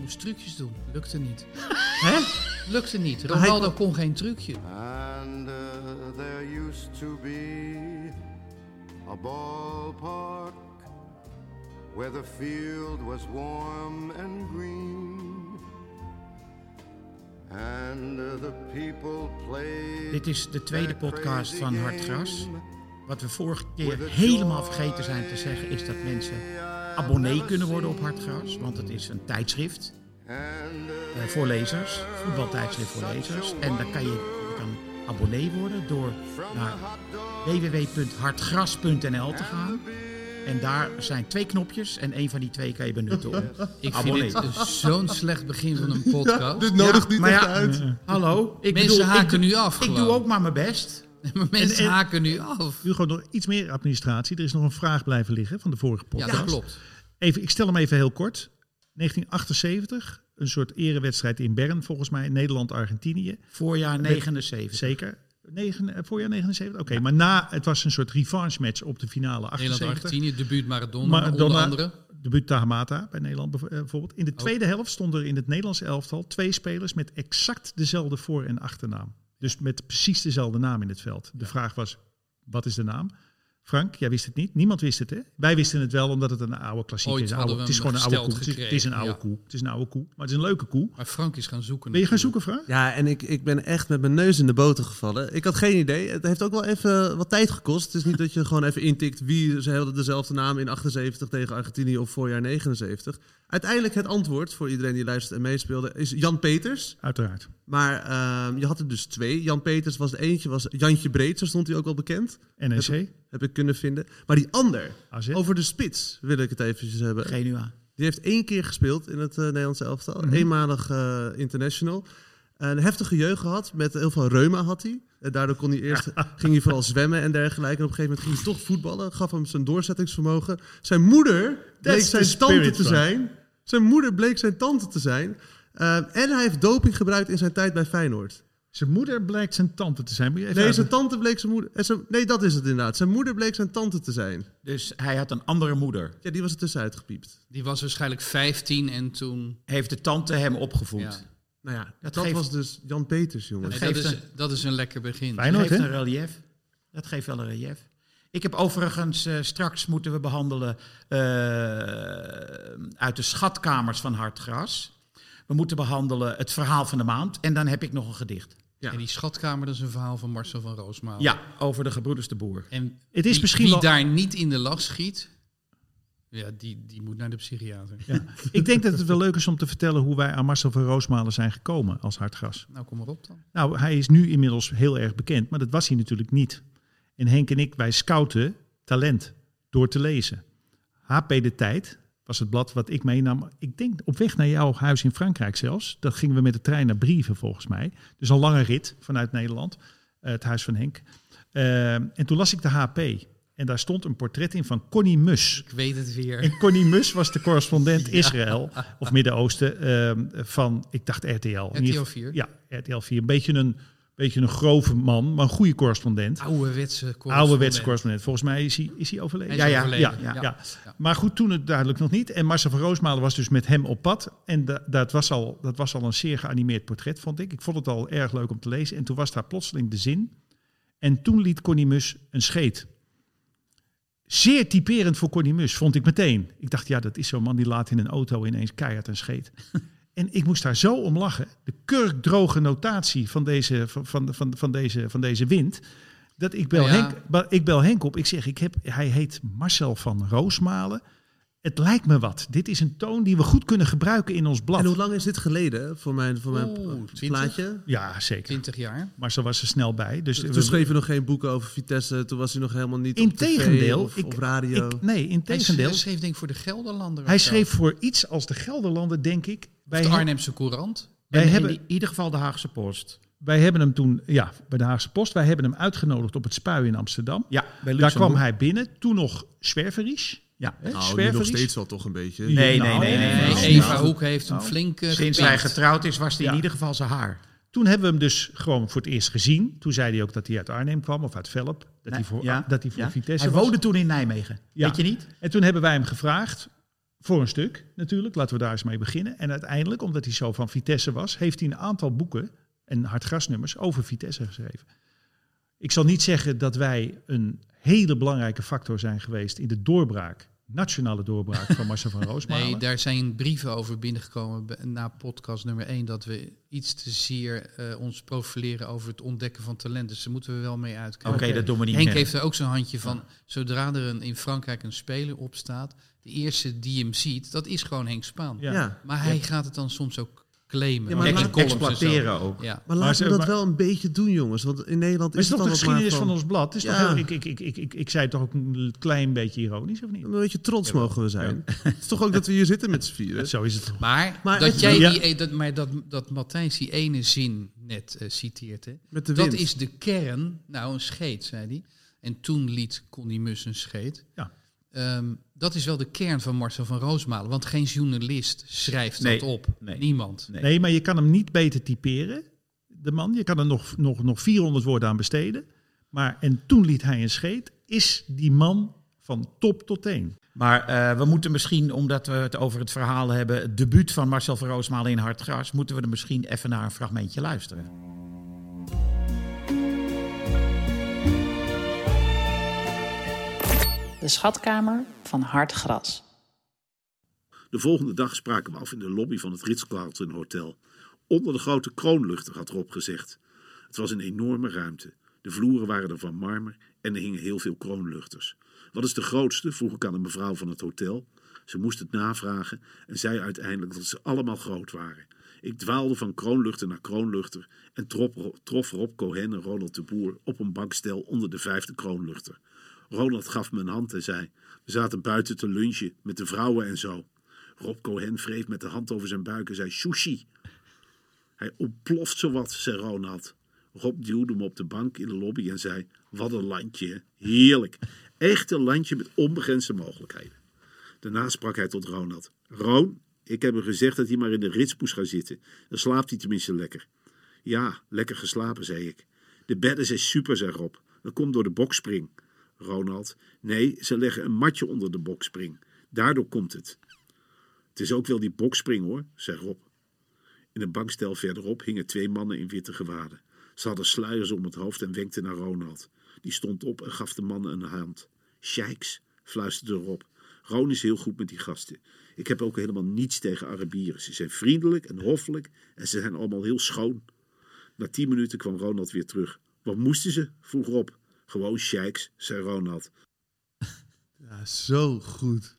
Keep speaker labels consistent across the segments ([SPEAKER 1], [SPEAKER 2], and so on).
[SPEAKER 1] moest trucjes doen. Lukte niet.
[SPEAKER 2] Hè?
[SPEAKER 1] Lukte niet.
[SPEAKER 2] hij
[SPEAKER 1] Ronaldo kon geen trucje.
[SPEAKER 3] Ah,
[SPEAKER 4] And uh, there used to be a ballpark where the field was warm and green. And uh, the people played.
[SPEAKER 2] Dit is de tweede
[SPEAKER 4] their
[SPEAKER 2] podcast
[SPEAKER 4] crazy
[SPEAKER 2] van Hartgras.
[SPEAKER 4] Eh, game.
[SPEAKER 2] Wat we vorige keer helemaal vergeten zijn te zeggen is dat mensen abonnee kunnen worden op Hartgras. Want het is een tijdschrift
[SPEAKER 4] And uh,
[SPEAKER 2] eh, voor lezers, voetbaltijdschrift voor lezers. En daar kan je, je kan abonnee worden door naar www.hartgras.nl te gaan. En daar zijn twee knopjes en één van die twee kan je benutten om
[SPEAKER 1] Ik
[SPEAKER 2] abonnee.
[SPEAKER 1] vind het zo'n slecht begin van een podcast.
[SPEAKER 3] Dit nodigt niet
[SPEAKER 2] maar
[SPEAKER 3] echt
[SPEAKER 2] ja,
[SPEAKER 3] uit.
[SPEAKER 2] eh, hallo. Ik
[SPEAKER 1] Mensen haken
[SPEAKER 2] ik, doe-
[SPEAKER 1] nu af
[SPEAKER 2] Ik
[SPEAKER 1] gewoon.
[SPEAKER 2] doe ook maar mijn best.
[SPEAKER 1] Maar mensen
[SPEAKER 3] en-
[SPEAKER 1] haken nu af.
[SPEAKER 3] Hugo, nog iets meer administratie. Er is nog een vraag blijven liggen van de vorige
[SPEAKER 1] Ja,
[SPEAKER 3] podcast.
[SPEAKER 1] dat klopt.
[SPEAKER 3] Even, ik stel hem even heel kort. 1978, een soort erewedstrijd in Bern, volgens mij, Nederland-Argentinië.
[SPEAKER 2] Voorjaar 79.
[SPEAKER 3] Zeker. Negen, eh, voorjaar 79? Oké, maar na, het was een soort revanche match op de finale 78.
[SPEAKER 1] Nederland-Argentinië, debuut Maradona, onder
[SPEAKER 3] Maradona,
[SPEAKER 1] andere.
[SPEAKER 3] debuut Tahamata bij Nederland bev- eh, bijvoorbeeld. In de tweede helft stonden er in het Nederlands elftal twee spelers met exact dezelfde voor- en achternaam. Dus met precies dezelfde naam in het veld. De vraag was, wat is de naam? Frank, jij wist het niet. Niemand wist het, hè? Wij wisten het wel, omdat het een oude klassieker
[SPEAKER 1] Ooit
[SPEAKER 3] is. Een
[SPEAKER 1] hadden
[SPEAKER 3] Oude,
[SPEAKER 1] we
[SPEAKER 3] het is
[SPEAKER 1] hem
[SPEAKER 3] gewoon een oude koe.
[SPEAKER 1] gesteld
[SPEAKER 3] Het is, het is
[SPEAKER 1] gekregen,
[SPEAKER 3] een oude
[SPEAKER 1] ja. Mm-hmm.
[SPEAKER 3] koe. Het is een oude koe. Maar het is een leuke koe.
[SPEAKER 1] Maar Frank is gaan zoeken.
[SPEAKER 3] Ben je gaan
[SPEAKER 1] natuurlijk.
[SPEAKER 3] zoeken, Frank?
[SPEAKER 5] Ja, en ik, ik ben echt met mijn neus in de boter gevallen. Ik had geen idee. Het heeft ook wel even wat tijd gekost. Het is niet dat je gewoon even intikt wie ze hadden dezelfde naam in 78 tegen Argentinië of voorjaar 79. Uiteindelijk het antwoord voor iedereen die luistert en meespeelde is Jan Peters.
[SPEAKER 3] Uiteraard.
[SPEAKER 5] Maar ehm, je had er dus twee. Jan Peters was de eentje, was Jantje Breed, zo stond hij ook wel bekend.
[SPEAKER 3] NEC.
[SPEAKER 5] Heb ik kunnen vinden. Maar die ander,
[SPEAKER 3] AZ.
[SPEAKER 5] over de spits wil ik het eventjes hebben.
[SPEAKER 2] Genua.
[SPEAKER 5] Die heeft één keer gespeeld in het eh, Nederlandse elftal. Eenmalig eh, international. Een heftige jeugd gehad. Met heel veel reuma had hij. En daardoor kon hij eerst, ging hij vooral zwemmen en dergelijke. En op een gegeven moment ging hij toch voetballen. Gaf hem zijn doorzettingsvermogen. Zijn moeder bleek
[SPEAKER 3] That's the
[SPEAKER 5] zijn
[SPEAKER 3] spirit,
[SPEAKER 5] tante te
[SPEAKER 3] Frank.
[SPEAKER 5] zijn. Zijn moeder bleek zijn tante te zijn. Eh, en hij heeft doping gebruikt in zijn tijd bij Feyenoord.
[SPEAKER 3] Zijn moeder blijkt zijn tante te zijn. Moet je even
[SPEAKER 5] Nee,
[SPEAKER 3] uit-
[SPEAKER 5] zijn tante bleek zijn moeder... eh, zijn- nee, dat is het inderdaad. Zijn moeder bleek zijn tante te zijn.
[SPEAKER 2] Dus hij had een andere moeder.
[SPEAKER 5] Ja, die was er tussenuit gepiept.
[SPEAKER 1] Die was waarschijnlijk 15 en toen...
[SPEAKER 2] Heeft de tante hem opgevoed.
[SPEAKER 1] Ja.
[SPEAKER 5] Nou ja, dat,
[SPEAKER 2] geeft-
[SPEAKER 5] was dus Jan Peters, jongen.
[SPEAKER 1] Nee, dat,
[SPEAKER 2] geeft
[SPEAKER 1] is, dat is een lekker begin.
[SPEAKER 2] Dat
[SPEAKER 3] Feyenoord,
[SPEAKER 2] geeft
[SPEAKER 3] hè?
[SPEAKER 2] een relief. Dat geeft wel een relief. Ik heb overigens, eh, straks moeten we behandelen eh, uit de schatkamers van Hartgras. We moeten behandelen het verhaal van de maand. En dan heb ik nog een gedicht.
[SPEAKER 1] En die schatkamer, dat is een verhaal van Marcel van Roosmaal.
[SPEAKER 3] Oh.
[SPEAKER 2] Ja, over de gebroeders de boer.
[SPEAKER 1] En
[SPEAKER 3] Het is
[SPEAKER 1] wie,
[SPEAKER 3] misschien
[SPEAKER 1] wie
[SPEAKER 3] wel-
[SPEAKER 1] daar niet in de lach schiet, ja, die, die moet naar de psychiater.
[SPEAKER 3] Ik denk dat het wel leuk is om te vertellen hoe wij aan Marcel van Roosmalen zijn gekomen als hartgras.
[SPEAKER 1] Nou, kom maar op dan.
[SPEAKER 3] Nou, hij is nu inmiddels heel erg bekend, maar dat was hij natuurlijk niet. En Henk en ik, wij scouten talent door te lezen. HP De Tijd was het blad wat ik meenam. Ik denk op weg naar jouw huis in Frankrijk zelfs. Dat gingen we met de trein naar Brieven volgens mij. Dus een lange rit vanuit Nederland, eh, het huis van Henk. Eh, en toen las ik de HP. En daar stond een portret in van Connie Mus.
[SPEAKER 1] Ik weet het weer.
[SPEAKER 3] En Connie Mus was de correspondent Israël of Midden-Oosten ehm, van, ik dacht RTL. In ieder geval-
[SPEAKER 1] 4.
[SPEAKER 3] Ja, RTL 4. Een beetje een, beetje een grove man, maar een goede correspondent.
[SPEAKER 1] Ouderwetse correspondent.
[SPEAKER 3] Ouderwets correspondent. Volgens mij is hij, is hij overleden.
[SPEAKER 1] Hij is overleden,
[SPEAKER 3] Ja,
[SPEAKER 1] ja.
[SPEAKER 3] ja. Maar goed, toen het duidelijk nog niet. En Marcel van Roosmalen was dus met hem op pad. En da- dat, was al, dat was al een zeer geanimeerd portret, vond ik. Ik vond het al erg leuk om te lezen. En toen was daar plotseling de zin. En toen liet Connie Mus een scheet. Zeer typerend voor Connie Mus, vond ik meteen. Ik dacht, ja, dat is zo'n man die laat in een auto ineens keihard een scheet. En ik moest daar zo om lachen. De kurkdroge notatie van deze, van, van, van, van deze, van deze wind. Dat ik
[SPEAKER 5] Oh
[SPEAKER 3] bel,
[SPEAKER 1] Ja.
[SPEAKER 3] Henk, ba- ik bel Henk op. Ik zeg, ik heb, hij heet Marcel van Roosmalen. Het lijkt me wat. Dit is een toon die we goed kunnen gebruiken in ons blad.
[SPEAKER 5] En hoe lang is dit geleden voor mijn, voor mijn
[SPEAKER 1] Oeh,
[SPEAKER 5] pla-
[SPEAKER 1] 20?
[SPEAKER 5] plaatje?
[SPEAKER 3] Ja, zeker.
[SPEAKER 1] 20 jaar.
[SPEAKER 3] Marcel was er snel bij. Dus
[SPEAKER 5] Toen
[SPEAKER 3] we-
[SPEAKER 5] schreef je nog geen boeken over Vitesse. Toen was hij nog helemaal niet op
[SPEAKER 3] Integendeel.
[SPEAKER 5] tv of,
[SPEAKER 3] ik-
[SPEAKER 5] op radio.
[SPEAKER 3] ik- nee,
[SPEAKER 1] Hij
[SPEAKER 3] integendeel.
[SPEAKER 1] schreef, schreef denk ik voor de Gelderlander. of
[SPEAKER 3] Hij
[SPEAKER 1] zo.
[SPEAKER 3] schreef voor iets als de Gelderlander, denk ik.
[SPEAKER 1] Of
[SPEAKER 3] Wij,
[SPEAKER 1] de
[SPEAKER 3] he-
[SPEAKER 1] Arnhemse Courant.
[SPEAKER 3] wij
[SPEAKER 2] en
[SPEAKER 3] hebben,
[SPEAKER 2] in ieder geval de Haagse Post.
[SPEAKER 3] wij hebben hem toen, ja, bij de Haagse Post, wij hebben hem uitgenodigd op het Spui in Amsterdam.
[SPEAKER 2] Ja, bij
[SPEAKER 3] Daar
[SPEAKER 2] Luxemburg.
[SPEAKER 3] kwam hij binnen, toen nog zwerverisch.
[SPEAKER 2] Ja.
[SPEAKER 3] Hè,
[SPEAKER 5] nou, nu
[SPEAKER 3] zwerverisch.
[SPEAKER 5] nog steeds wel toch een beetje.
[SPEAKER 3] Ja.
[SPEAKER 2] Nee, nee,
[SPEAKER 3] Nou,
[SPEAKER 2] nee, nee. nee,
[SPEAKER 1] Nee,
[SPEAKER 2] nee. Oh.
[SPEAKER 1] Eva Hoek heeft hem flink eh,
[SPEAKER 2] Sinds
[SPEAKER 1] gepimpt.
[SPEAKER 2] hij getrouwd is, was hij
[SPEAKER 3] Ja.
[SPEAKER 2] in ieder geval zijn haar.
[SPEAKER 3] Toen hebben we hem dus gewoon voor het eerst gezien. Toen zei hij ook dat hij uit Arnhem kwam of uit Velp. Dat hij voor,
[SPEAKER 2] Ja,
[SPEAKER 3] dat hij voor
[SPEAKER 2] ja.
[SPEAKER 3] Vitesse
[SPEAKER 2] Hij
[SPEAKER 3] was.
[SPEAKER 2] woonde toen in Nijmegen.
[SPEAKER 3] Ja.
[SPEAKER 2] Weet je niet?
[SPEAKER 3] En toen hebben wij hem gevraagd Voor een stuk natuurlijk, laten we daar eens mee beginnen. En uiteindelijk, omdat hij zo van Vitesse was, heeft hij een aantal boeken en hardgrasnummers over Vitesse geschreven. Ik zal niet zeggen dat wij een hele belangrijke factor zijn geweest in de doorbraak, nationale doorbraak van Marcel van Roosmalen.
[SPEAKER 1] Nee, daar zijn brieven over binnengekomen be- na podcast nummer 1 dat we iets te zeer eh, ons profileren over het ontdekken van talent. Dus daar moeten we wel mee
[SPEAKER 2] Oké,
[SPEAKER 1] uitkijken.
[SPEAKER 2] dat doen we niet
[SPEAKER 1] Henk
[SPEAKER 2] meer.
[SPEAKER 1] heeft er ook zo'n handje van. Zodra er een, in Frankrijk een speler opstaat, de eerste die hem ziet, dat is gewoon Henk Spaan.
[SPEAKER 3] Ja.
[SPEAKER 5] ja.
[SPEAKER 1] Maar hij gaat het dan soms ook claimen.
[SPEAKER 5] Ja, maar
[SPEAKER 1] in
[SPEAKER 5] laat-
[SPEAKER 1] columns en zo.
[SPEAKER 2] exploiteren ook.
[SPEAKER 1] Ja.
[SPEAKER 5] Maar
[SPEAKER 3] Maar
[SPEAKER 5] laten
[SPEAKER 3] ze-
[SPEAKER 5] we dat
[SPEAKER 3] maar-
[SPEAKER 5] wel een beetje doen, jongens. Want in Nederland
[SPEAKER 3] Maar
[SPEAKER 5] is
[SPEAKER 3] het is
[SPEAKER 5] het
[SPEAKER 3] toch de
[SPEAKER 5] altijd maar
[SPEAKER 3] geschiedenis van
[SPEAKER 5] van...
[SPEAKER 3] ons blad? Het Is
[SPEAKER 5] Ja.
[SPEAKER 3] toch heel, ik, ik, ik, ik, ik, ik zei het toch ook een klein beetje ironisch, of niet?
[SPEAKER 5] Een beetje trots mogen we zijn. Het is toch ook dat we hier zitten met z'n vieren.
[SPEAKER 3] Zo is het toch?
[SPEAKER 1] Maar,
[SPEAKER 5] Maar
[SPEAKER 1] dat
[SPEAKER 5] het-
[SPEAKER 1] jij
[SPEAKER 3] Ja.
[SPEAKER 1] die, eh, dat, maar dat, dat Matthijs die ene zin net eh, citeert, hè?
[SPEAKER 5] Met de wind.
[SPEAKER 1] dat is de kern. Nou, een scheet, zei hij. En toen liet Connie Mus een scheet.
[SPEAKER 3] Ja.
[SPEAKER 1] Ehm, dat is wel de kern van Marcel van Roosmalen. Want geen journalist schrijft dat
[SPEAKER 2] Nee,
[SPEAKER 1] op.
[SPEAKER 2] nee.
[SPEAKER 1] Niemand.
[SPEAKER 2] Nee.
[SPEAKER 3] Nee, maar je kan hem niet beter typeren, de man. Je kan er nog, nog, nog 400 woorden aan besteden. Maar en toen liet hij een scheet, is die man van top tot teen.
[SPEAKER 2] Maar eh, we moeten misschien, omdat we het over het verhaal hebben, het debuut van Marcel van Roosmalen in Hartgras, moeten we er misschien even naar een fragmentje luisteren.
[SPEAKER 6] De schatkamer van hard gras.
[SPEAKER 7] De volgende dag spraken we af in de lobby van het Ritz-Carlton Hotel. Onder de grote kroonluchter, had Rob gezegd. Het was een enorme ruimte. De vloeren waren er van marmer en er hingen heel veel kroonluchters. Wat is de grootste? vroeg ik aan een mevrouw van het hotel. Ze moest het navragen en zei uiteindelijk dat ze allemaal groot waren. Ik dwaalde van kroonluchter naar kroonluchter en trof, trof Rob Cohen en Ronald de Boer op een bankstel onder de vijfde kroonluchter. Ronald gaf me een hand en zei: We zaten buiten te lunchen met de vrouwen en zo. Rob Cohen wreef met de hand over zijn buik en zei: Sushi. Hij ontploft zowat, zei Ronald. Rob duwde hem op de bank in de lobby en zei: Wat een landje, hè? heerlijk. Echt een landje met onbegrensde mogelijkheden. Daarna sprak hij tot Ronald: Roon, ik heb hem gezegd dat hij maar in de ritspoes gaat zitten. Dan slaapt hij tenminste lekker. Ja, lekker geslapen, zei ik. De bedden zijn super, zei Rob. Dat komt door de bokspring. Ronald: Nee, ze leggen een matje onder de bokspring. Daardoor komt het. Het is ook wel die bokspring hoor, zei Rob. In een bankstel verderop hingen twee mannen in witte gewaden. Ze hadden sluiers om het hoofd en wenkten naar Ronald. Die stond op en gaf de mannen een hand. Sheiks, fluisterde Rob. Ron is heel goed met die gasten. Ik heb ook helemaal niets tegen Arabieren. Ze zijn vriendelijk en hoffelijk en ze zijn allemaal heel schoon. Na tien minuten kwam Ronald weer terug. Wat moesten ze? vroeg Rob. Gewoon sheiks, zei Ronald.
[SPEAKER 5] Ja, zo goed.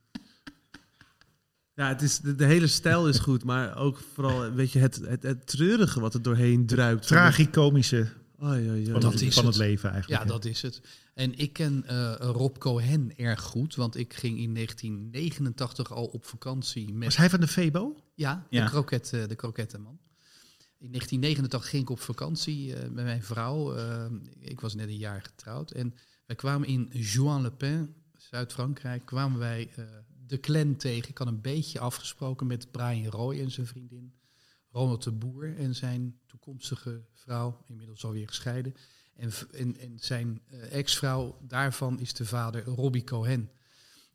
[SPEAKER 5] Ja, het is, de, de hele stijl is goed, maar ook vooral weet je, het, het, het treurige wat er doorheen druipt.
[SPEAKER 3] Tragicomische
[SPEAKER 5] Oei, oei, oei.
[SPEAKER 3] van,
[SPEAKER 1] Dat
[SPEAKER 3] het,
[SPEAKER 1] is
[SPEAKER 3] van
[SPEAKER 1] het.
[SPEAKER 3] het leven eigenlijk.
[SPEAKER 1] Ja, dat is het. En ik ken eh, Rob Cohen erg goed, want ik ging in 1989 al op vakantie met
[SPEAKER 3] Was hij van de Febo?
[SPEAKER 1] Ja,
[SPEAKER 2] Ja.
[SPEAKER 1] De, kroket, eh, de krokettenman. In 1989 ging ik op vakantie eh, met mijn vrouw. Eh, ik was net een jaar getrouwd. En wij kwamen in Juan-le-Pin, Zuid-Frankrijk, kwamen wij eh, de clan tegen. Ik had een beetje afgesproken met Brian Roy en zijn vriendin. Ronald de Boer en zijn toekomstige vrouw, inmiddels alweer gescheiden. En, v- en, en zijn eh, ex-vrouw daarvan is de vader Robbie Cohen.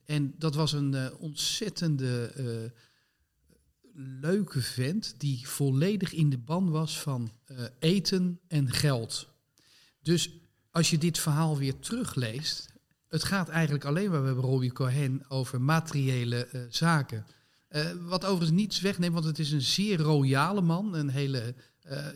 [SPEAKER 1] En dat was een eh, ontzettende eh, leuke vent die volledig in de ban was van eh, eten en geld. Dus als je dit verhaal weer terugleest, het gaat eigenlijk alleen maar bij Robbie Cohen over materiële eh, zaken. Eh, wat overigens niets wegneemt, want het is een zeer royale man, een hele eh,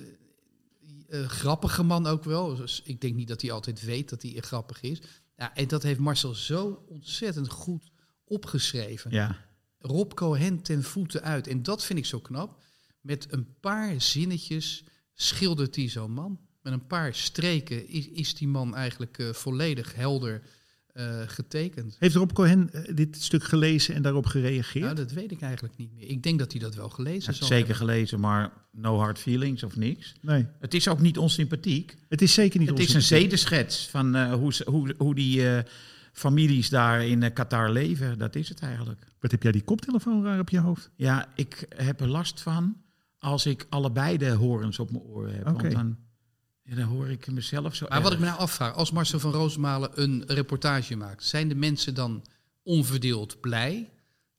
[SPEAKER 1] eh, grappige man ook wel. Dus ik denk niet dat hij altijd weet dat hij grappig is. Ja, en dat heeft Marcel zo ontzettend goed opgeschreven.
[SPEAKER 2] Ja.
[SPEAKER 1] Rob Cohen ten voeten uit. En dat vind ik zo knap. Met een paar zinnetjes schildert hij zo'n man. Met een paar streken is, is die man eigenlijk eh, volledig helder eh, getekend.
[SPEAKER 3] Heeft Rob Cohen eh, dit stuk gelezen en daarop gereageerd?
[SPEAKER 1] Nou, dat weet ik eigenlijk niet meer. Ik denk dat hij dat wel gelezen
[SPEAKER 2] Dat
[SPEAKER 1] zal
[SPEAKER 2] zeker
[SPEAKER 1] hebben.
[SPEAKER 2] gelezen, maar no hard feelings of niks.
[SPEAKER 3] nee.
[SPEAKER 2] Het is ook niet onsympathiek.
[SPEAKER 3] Het is zeker niet
[SPEAKER 2] Het is
[SPEAKER 3] onze-
[SPEAKER 2] een zedeschets van eh, hoe, ze- hoe, hoe die eh, families daar in eh, Qatar leven. Dat is het eigenlijk.
[SPEAKER 3] Wat heb jij die koptelefoon raar op je hoofd?
[SPEAKER 2] Ja, ik heb er last van als ik allebei de horens op mijn oren heb.
[SPEAKER 3] Oké.
[SPEAKER 2] Want dan, ja, dan hoor ik mezelf zo.
[SPEAKER 1] Maar wat
[SPEAKER 2] erg.
[SPEAKER 1] ik me nou afvraag, als Marcel van Roosmalen een reportage maakt, zijn de mensen dan onverdeeld blij?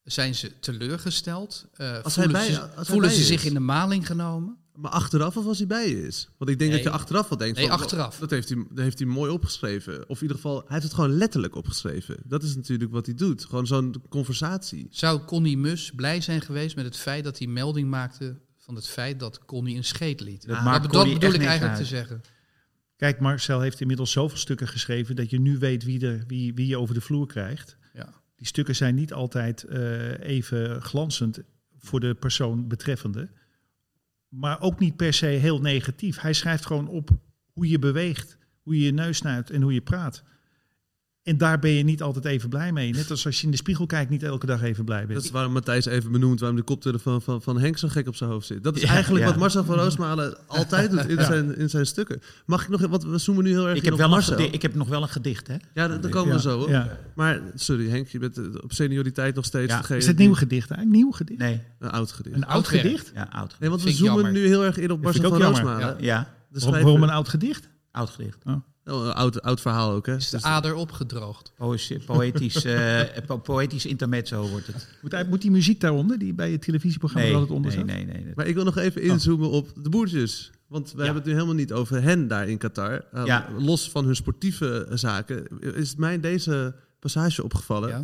[SPEAKER 1] zijn ze teleurgesteld? eh,
[SPEAKER 5] Als hij
[SPEAKER 1] voelen
[SPEAKER 5] bij-
[SPEAKER 1] ze,
[SPEAKER 5] als hij
[SPEAKER 1] voelen
[SPEAKER 5] bij
[SPEAKER 1] ze
[SPEAKER 5] is.
[SPEAKER 1] zich in de maling genomen?
[SPEAKER 5] Maar achteraf of als hij bij je is? Want ik denk dat
[SPEAKER 1] Nee.
[SPEAKER 5] je achteraf wel denkt...
[SPEAKER 1] Nee,
[SPEAKER 5] van,
[SPEAKER 1] achteraf.
[SPEAKER 5] Dat heeft, hij, dat heeft hij mooi opgeschreven. Of in ieder geval, hij heeft het gewoon letterlijk opgeschreven. Dat is natuurlijk wat hij doet. Gewoon zo'n conversatie.
[SPEAKER 1] Zou Connie Mus blij zijn geweest met het feit dat hij melding maakte van het feit dat Connie een scheet liet?
[SPEAKER 2] Dat
[SPEAKER 1] Dat,
[SPEAKER 2] maakt
[SPEAKER 1] bedo-
[SPEAKER 2] Connie
[SPEAKER 1] bedoel
[SPEAKER 2] echt
[SPEAKER 1] ik
[SPEAKER 2] niks
[SPEAKER 1] eigenlijk
[SPEAKER 2] uit.
[SPEAKER 1] te zeggen.
[SPEAKER 3] Kijk, Marcel heeft inmiddels zoveel stukken geschreven dat je nu weet wie, de, wie, wie je over de vloer krijgt.
[SPEAKER 1] Ja.
[SPEAKER 3] Die stukken zijn niet altijd eh, even glanzend voor de persoon betreffende. Maar ook niet per se heel negatief. Hij schrijft gewoon op hoe je beweegt, hoe je je neus snuit en hoe je praat. En daar ben je niet altijd even blij mee. Net als als je in de spiegel kijkt, niet elke dag even blij bent.
[SPEAKER 5] Dat is waarom Matthijs even benoemd, waarom de koptelefoon van, van Henk zo gek op zijn hoofd zit. Dat is
[SPEAKER 2] Ja,
[SPEAKER 5] eigenlijk
[SPEAKER 2] ja.
[SPEAKER 5] wat Marcel van Roosmalen altijd doet in, zijn, in zijn stukken. Mag ik nog, want we zoomen nu heel erg
[SPEAKER 2] Ik
[SPEAKER 5] in
[SPEAKER 2] heb,
[SPEAKER 5] op
[SPEAKER 2] wel een
[SPEAKER 5] Marcel.
[SPEAKER 2] gedi- ik heb nog wel een gedicht, hè?
[SPEAKER 5] Ja, dat- daar komen
[SPEAKER 3] Ja,
[SPEAKER 5] we zo op.
[SPEAKER 3] ja.
[SPEAKER 5] Maar, sorry Henk, je bent eh, op senioriteit nog steeds
[SPEAKER 2] Ja,
[SPEAKER 5] degene
[SPEAKER 3] Is het
[SPEAKER 5] die-
[SPEAKER 3] nieuw gedicht eigenlijk? Nieuw gedicht?
[SPEAKER 2] Nee,
[SPEAKER 5] Een oud gedicht.
[SPEAKER 3] Een oud
[SPEAKER 1] Oud werk.
[SPEAKER 3] gedicht?
[SPEAKER 2] ja, oud
[SPEAKER 5] Nee,
[SPEAKER 2] gedicht.
[SPEAKER 5] want we
[SPEAKER 1] vind ik
[SPEAKER 5] zoomen
[SPEAKER 1] jammer.
[SPEAKER 5] nu heel erg in op
[SPEAKER 3] vind ik
[SPEAKER 5] Marcel van
[SPEAKER 3] ook jammer.
[SPEAKER 5] Roosmalen.
[SPEAKER 2] Ja,
[SPEAKER 5] De
[SPEAKER 3] Waarom-
[SPEAKER 5] schrijver.
[SPEAKER 3] Waarom een oud gedicht?
[SPEAKER 2] oud gedicht.
[SPEAKER 5] Oh, een oud, oud verhaal ook, hè?
[SPEAKER 1] Is de ader opgedroogd?
[SPEAKER 2] Poëzie- Poëtisch, eh, po- poëtisch intermezzo wordt het.
[SPEAKER 3] Moet, hij- moet die muziek daaronder, die bij het televisieprogramma
[SPEAKER 2] Nee,
[SPEAKER 3] altijd onder
[SPEAKER 2] nee,
[SPEAKER 3] staat?
[SPEAKER 2] nee, nee, nee.
[SPEAKER 5] Maar ik wil nog
[SPEAKER 1] Oh.
[SPEAKER 5] even inzoomen op de boertjes. Want we hebben het nu helemaal niet over hen daar in Qatar. Uh,
[SPEAKER 2] Ja.
[SPEAKER 5] Los van hun sportieve eh, zaken. Is het mij deze passage opgevallen.
[SPEAKER 1] Ja.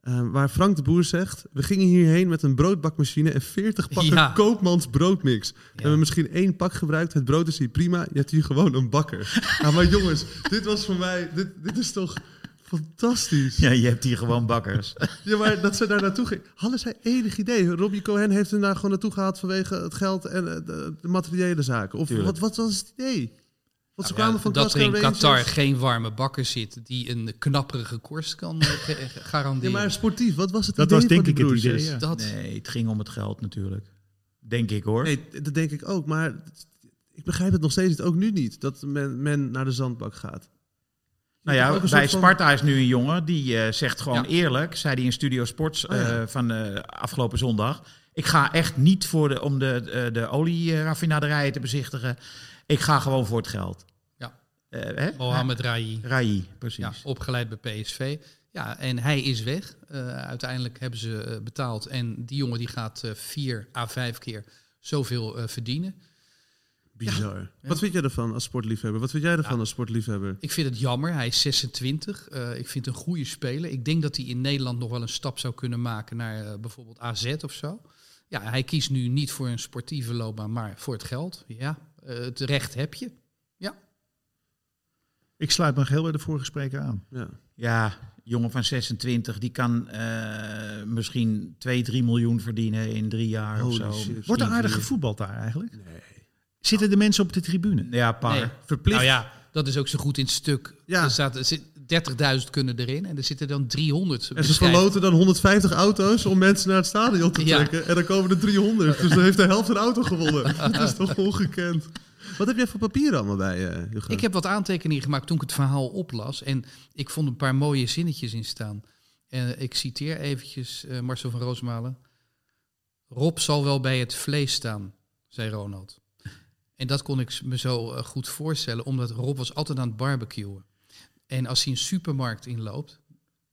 [SPEAKER 5] eh, waar Frank de Boer zegt... We gingen hierheen met een broodbakmachine en 40 pakken
[SPEAKER 1] Ja.
[SPEAKER 5] koopmans broodmix. We hebben misschien één pak gebruikt. Het brood is hier prima. Je hebt hier gewoon een bakker. ja, maar jongens, dit was voor mij... Dit, dit is toch fantastisch.
[SPEAKER 2] Ja, je hebt hier gewoon bakkers.
[SPEAKER 5] Ja, maar dat ze daar naartoe ging. Hadden zij enig idee? Robbie Cohen heeft hem daar gewoon naartoe gehaald vanwege het geld en eh, de, de materiële zaken. Of
[SPEAKER 2] Tuurlijk.
[SPEAKER 5] wat, wat was het idee? Want ze
[SPEAKER 1] Ja,
[SPEAKER 5] kwamen van
[SPEAKER 1] dat er
[SPEAKER 5] Glasgow
[SPEAKER 1] in
[SPEAKER 5] Rangers.
[SPEAKER 1] Qatar geen warme bakker zit die een knapperige korst kan eh, ge- eh,
[SPEAKER 5] Ja,
[SPEAKER 1] garanderen.
[SPEAKER 5] maar sportief, wat was het
[SPEAKER 3] Dat
[SPEAKER 5] idee
[SPEAKER 3] was denk
[SPEAKER 5] van
[SPEAKER 3] ik
[SPEAKER 5] die
[SPEAKER 3] het
[SPEAKER 5] broers?
[SPEAKER 3] idee. ja.
[SPEAKER 1] dat,
[SPEAKER 2] Nee, het ging om het geld natuurlijk. Denk ik hoor.
[SPEAKER 5] Nee, dat denk ik ook. Maar ik begrijp het nog steeds niet, ook nu niet, dat men, men naar de zandbak gaat.
[SPEAKER 2] Nou
[SPEAKER 5] Ook
[SPEAKER 2] ja,
[SPEAKER 5] een soort
[SPEAKER 2] bij
[SPEAKER 5] van-
[SPEAKER 2] Sparta is nu een jongen die eh, zegt gewoon
[SPEAKER 1] Ja.
[SPEAKER 2] eerlijk, zei hij in Studio Sports
[SPEAKER 5] Oh ja.
[SPEAKER 2] eh, van eh, afgelopen zondag. Ik ga echt niet voor de, om de, eh, de olieraffinaderijen te bezichtigen. Ik ga gewoon voor het geld.
[SPEAKER 1] Ja.
[SPEAKER 2] Eh, hè?
[SPEAKER 1] Mohamed Rai,
[SPEAKER 2] Rai, precies.
[SPEAKER 1] ja, opgeleid bij PSV. Ja, en hij is weg. Eh, uiteindelijk hebben ze eh, betaald. En die jongen die gaat eh, vier à vijf keer zoveel eh, verdienen.
[SPEAKER 5] Bizar. Wat vind jij ervan als sportliefhebber? Wat vind jij ervan als sportliefhebber?
[SPEAKER 1] Ik vind het jammer. Hij is 26. Eh, ik vind het een goede speler. Ik denk dat hij in Nederland nog wel een stap zou kunnen maken naar eh, bijvoorbeeld AZ of zo. Ja, hij kiest nu niet voor een sportieve loopbaan, maar voor het geld. Ja, eh, het recht heb je.
[SPEAKER 3] Ik sluit me heel bij de vorige spreker aan.
[SPEAKER 5] Ja.
[SPEAKER 2] Ja, jongen van 26, die kan eh, misschien 2, 3 miljoen verdienen in drie jaar of
[SPEAKER 5] Holy
[SPEAKER 2] zo.
[SPEAKER 5] shit.
[SPEAKER 2] Misschien
[SPEAKER 3] Wordt er aardig
[SPEAKER 2] vier.
[SPEAKER 3] gevoetbald daar eigenlijk? Zitten de mensen op de tribune?
[SPEAKER 2] Ja, paar.
[SPEAKER 1] Nee.
[SPEAKER 5] Verplicht.
[SPEAKER 1] Nou ja, dat is ook zo goed in het stuk.
[SPEAKER 5] Ja.
[SPEAKER 1] Er staat er zit 30.000 kunnen erin en er zitten dan 300.
[SPEAKER 5] En ze
[SPEAKER 1] beschrijven.
[SPEAKER 5] verloten dan 150 auto's om mensen naar het stadion te
[SPEAKER 1] Ja.
[SPEAKER 5] trekken. En dan komen er 300. Dus dan heeft de helft een auto gewonnen. Dat is toch ongekend. Wat heb jij voor papieren allemaal bij je, Jochem?
[SPEAKER 1] Ik heb wat aantekeningen gemaakt toen ik het verhaal oplas. En ik vond een paar mooie zinnetjes in staan. En ik citeer eventjes eh, Marcel van Roosmalen. Rob zal wel bij het vlees staan, zei Ronald. En dat kon ik me zo eh, goed voorstellen, omdat Rob was altijd aan het barbecuen. En als hij een supermarkt inloopt,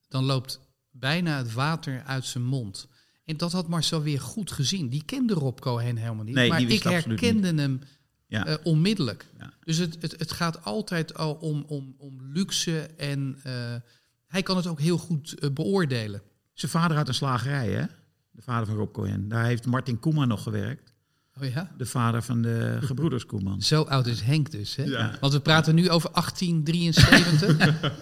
[SPEAKER 1] dan loopt bijna het water uit zijn mond. En dat had Marcel weer goed gezien. Die kende Rob Cohen helemaal niet.
[SPEAKER 2] Nee, die
[SPEAKER 1] maar
[SPEAKER 2] wist
[SPEAKER 1] ik
[SPEAKER 2] het absoluut
[SPEAKER 1] herkende hem
[SPEAKER 2] Ja.
[SPEAKER 1] eh, onmiddellijk.
[SPEAKER 2] Ja.
[SPEAKER 1] Dus het, het, het gaat altijd al om, om, om luxe en eh, hij kan het ook heel goed eh, beoordelen.
[SPEAKER 2] Zijn vader had een slagerij, hè? De vader van Rob Cohen. Daar heeft Martin Koeman nog gewerkt.
[SPEAKER 1] Oh ja?
[SPEAKER 2] De vader van de gebroeders Koeman.
[SPEAKER 1] Zo oud is Henk dus, hè?
[SPEAKER 5] Ja.
[SPEAKER 1] Want we praten nu over 1873.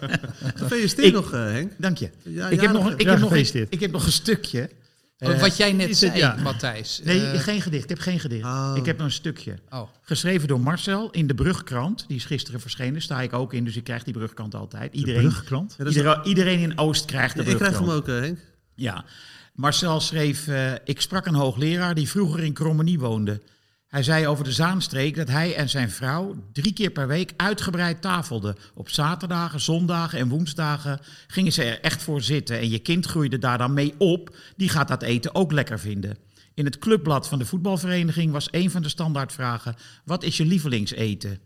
[SPEAKER 5] Gefeliciteerd
[SPEAKER 2] Ik-
[SPEAKER 5] nog, eh, Henk.
[SPEAKER 2] Dank je.
[SPEAKER 5] Ja,
[SPEAKER 2] ik, heb nog,
[SPEAKER 5] jarig.
[SPEAKER 2] een- ik,
[SPEAKER 3] Ja,
[SPEAKER 2] heb nog een,
[SPEAKER 3] gefeliciteerd.
[SPEAKER 2] ik heb nog een stukje. Eh,
[SPEAKER 1] Wat jij net
[SPEAKER 3] is het-
[SPEAKER 1] zei,
[SPEAKER 3] ja.
[SPEAKER 1] Matthijs.
[SPEAKER 2] nee,
[SPEAKER 1] Eh,
[SPEAKER 2] geen gedicht. Ik heb geen gedicht.
[SPEAKER 5] Oh.
[SPEAKER 2] Ik heb nog een stukje.
[SPEAKER 1] oh,
[SPEAKER 2] Geschreven door Marcel in de Brugkrant. Die is gisteren verschenen. Sta ik ook in, dus ik krijg die Brugkrant altijd.
[SPEAKER 3] De
[SPEAKER 2] Iedereen,
[SPEAKER 3] brugkrant?
[SPEAKER 5] Ja, dat is-
[SPEAKER 2] iedereen, iedereen in Oost krijgt de
[SPEAKER 5] ik
[SPEAKER 2] Brugkrant.
[SPEAKER 5] krijg hem ook, eh, Henk.
[SPEAKER 2] Ja. Marcel schreef, eh, ik sprak een hoogleraar die vroeger in Krommenie woonde. Hij zei over de Zaanstreek dat hij en zijn vrouw drie keer per week uitgebreid tafelden. Op zaterdagen, zondagen en woensdagen gingen ze er echt voor zitten. En je kind groeide daar dan mee op, die gaat dat eten ook lekker vinden. In het clubblad van de voetbalvereniging was een van de standaardvragen, wat is je lievelingseten?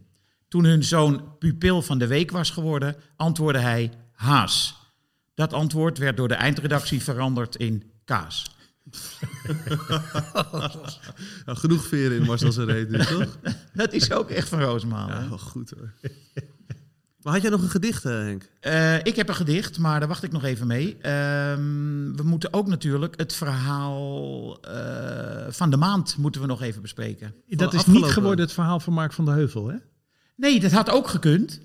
[SPEAKER 2] Toen hun zoon pupil van de week was geworden, antwoordde hij haas. Dat antwoord werd door de eindredactie veranderd in kaas.
[SPEAKER 5] Nou, genoeg veren in Marcel zijn reet nu, toch?
[SPEAKER 2] Dat is ook echt van Roosmalen.
[SPEAKER 5] Ja, wel goed hoor. Maar had jij nog een gedicht, eh, Henk?
[SPEAKER 2] Eh, ik heb een gedicht, maar daar wacht ik nog even mee. Ehm, we moeten ook natuurlijk het verhaal eh, van de maand moeten we nog even bespreken.
[SPEAKER 3] Dat is niet
[SPEAKER 5] afgelopen-
[SPEAKER 3] geworden het verhaal van Mark van der Heuvel, hè?
[SPEAKER 2] Nee, dat had ook gekund.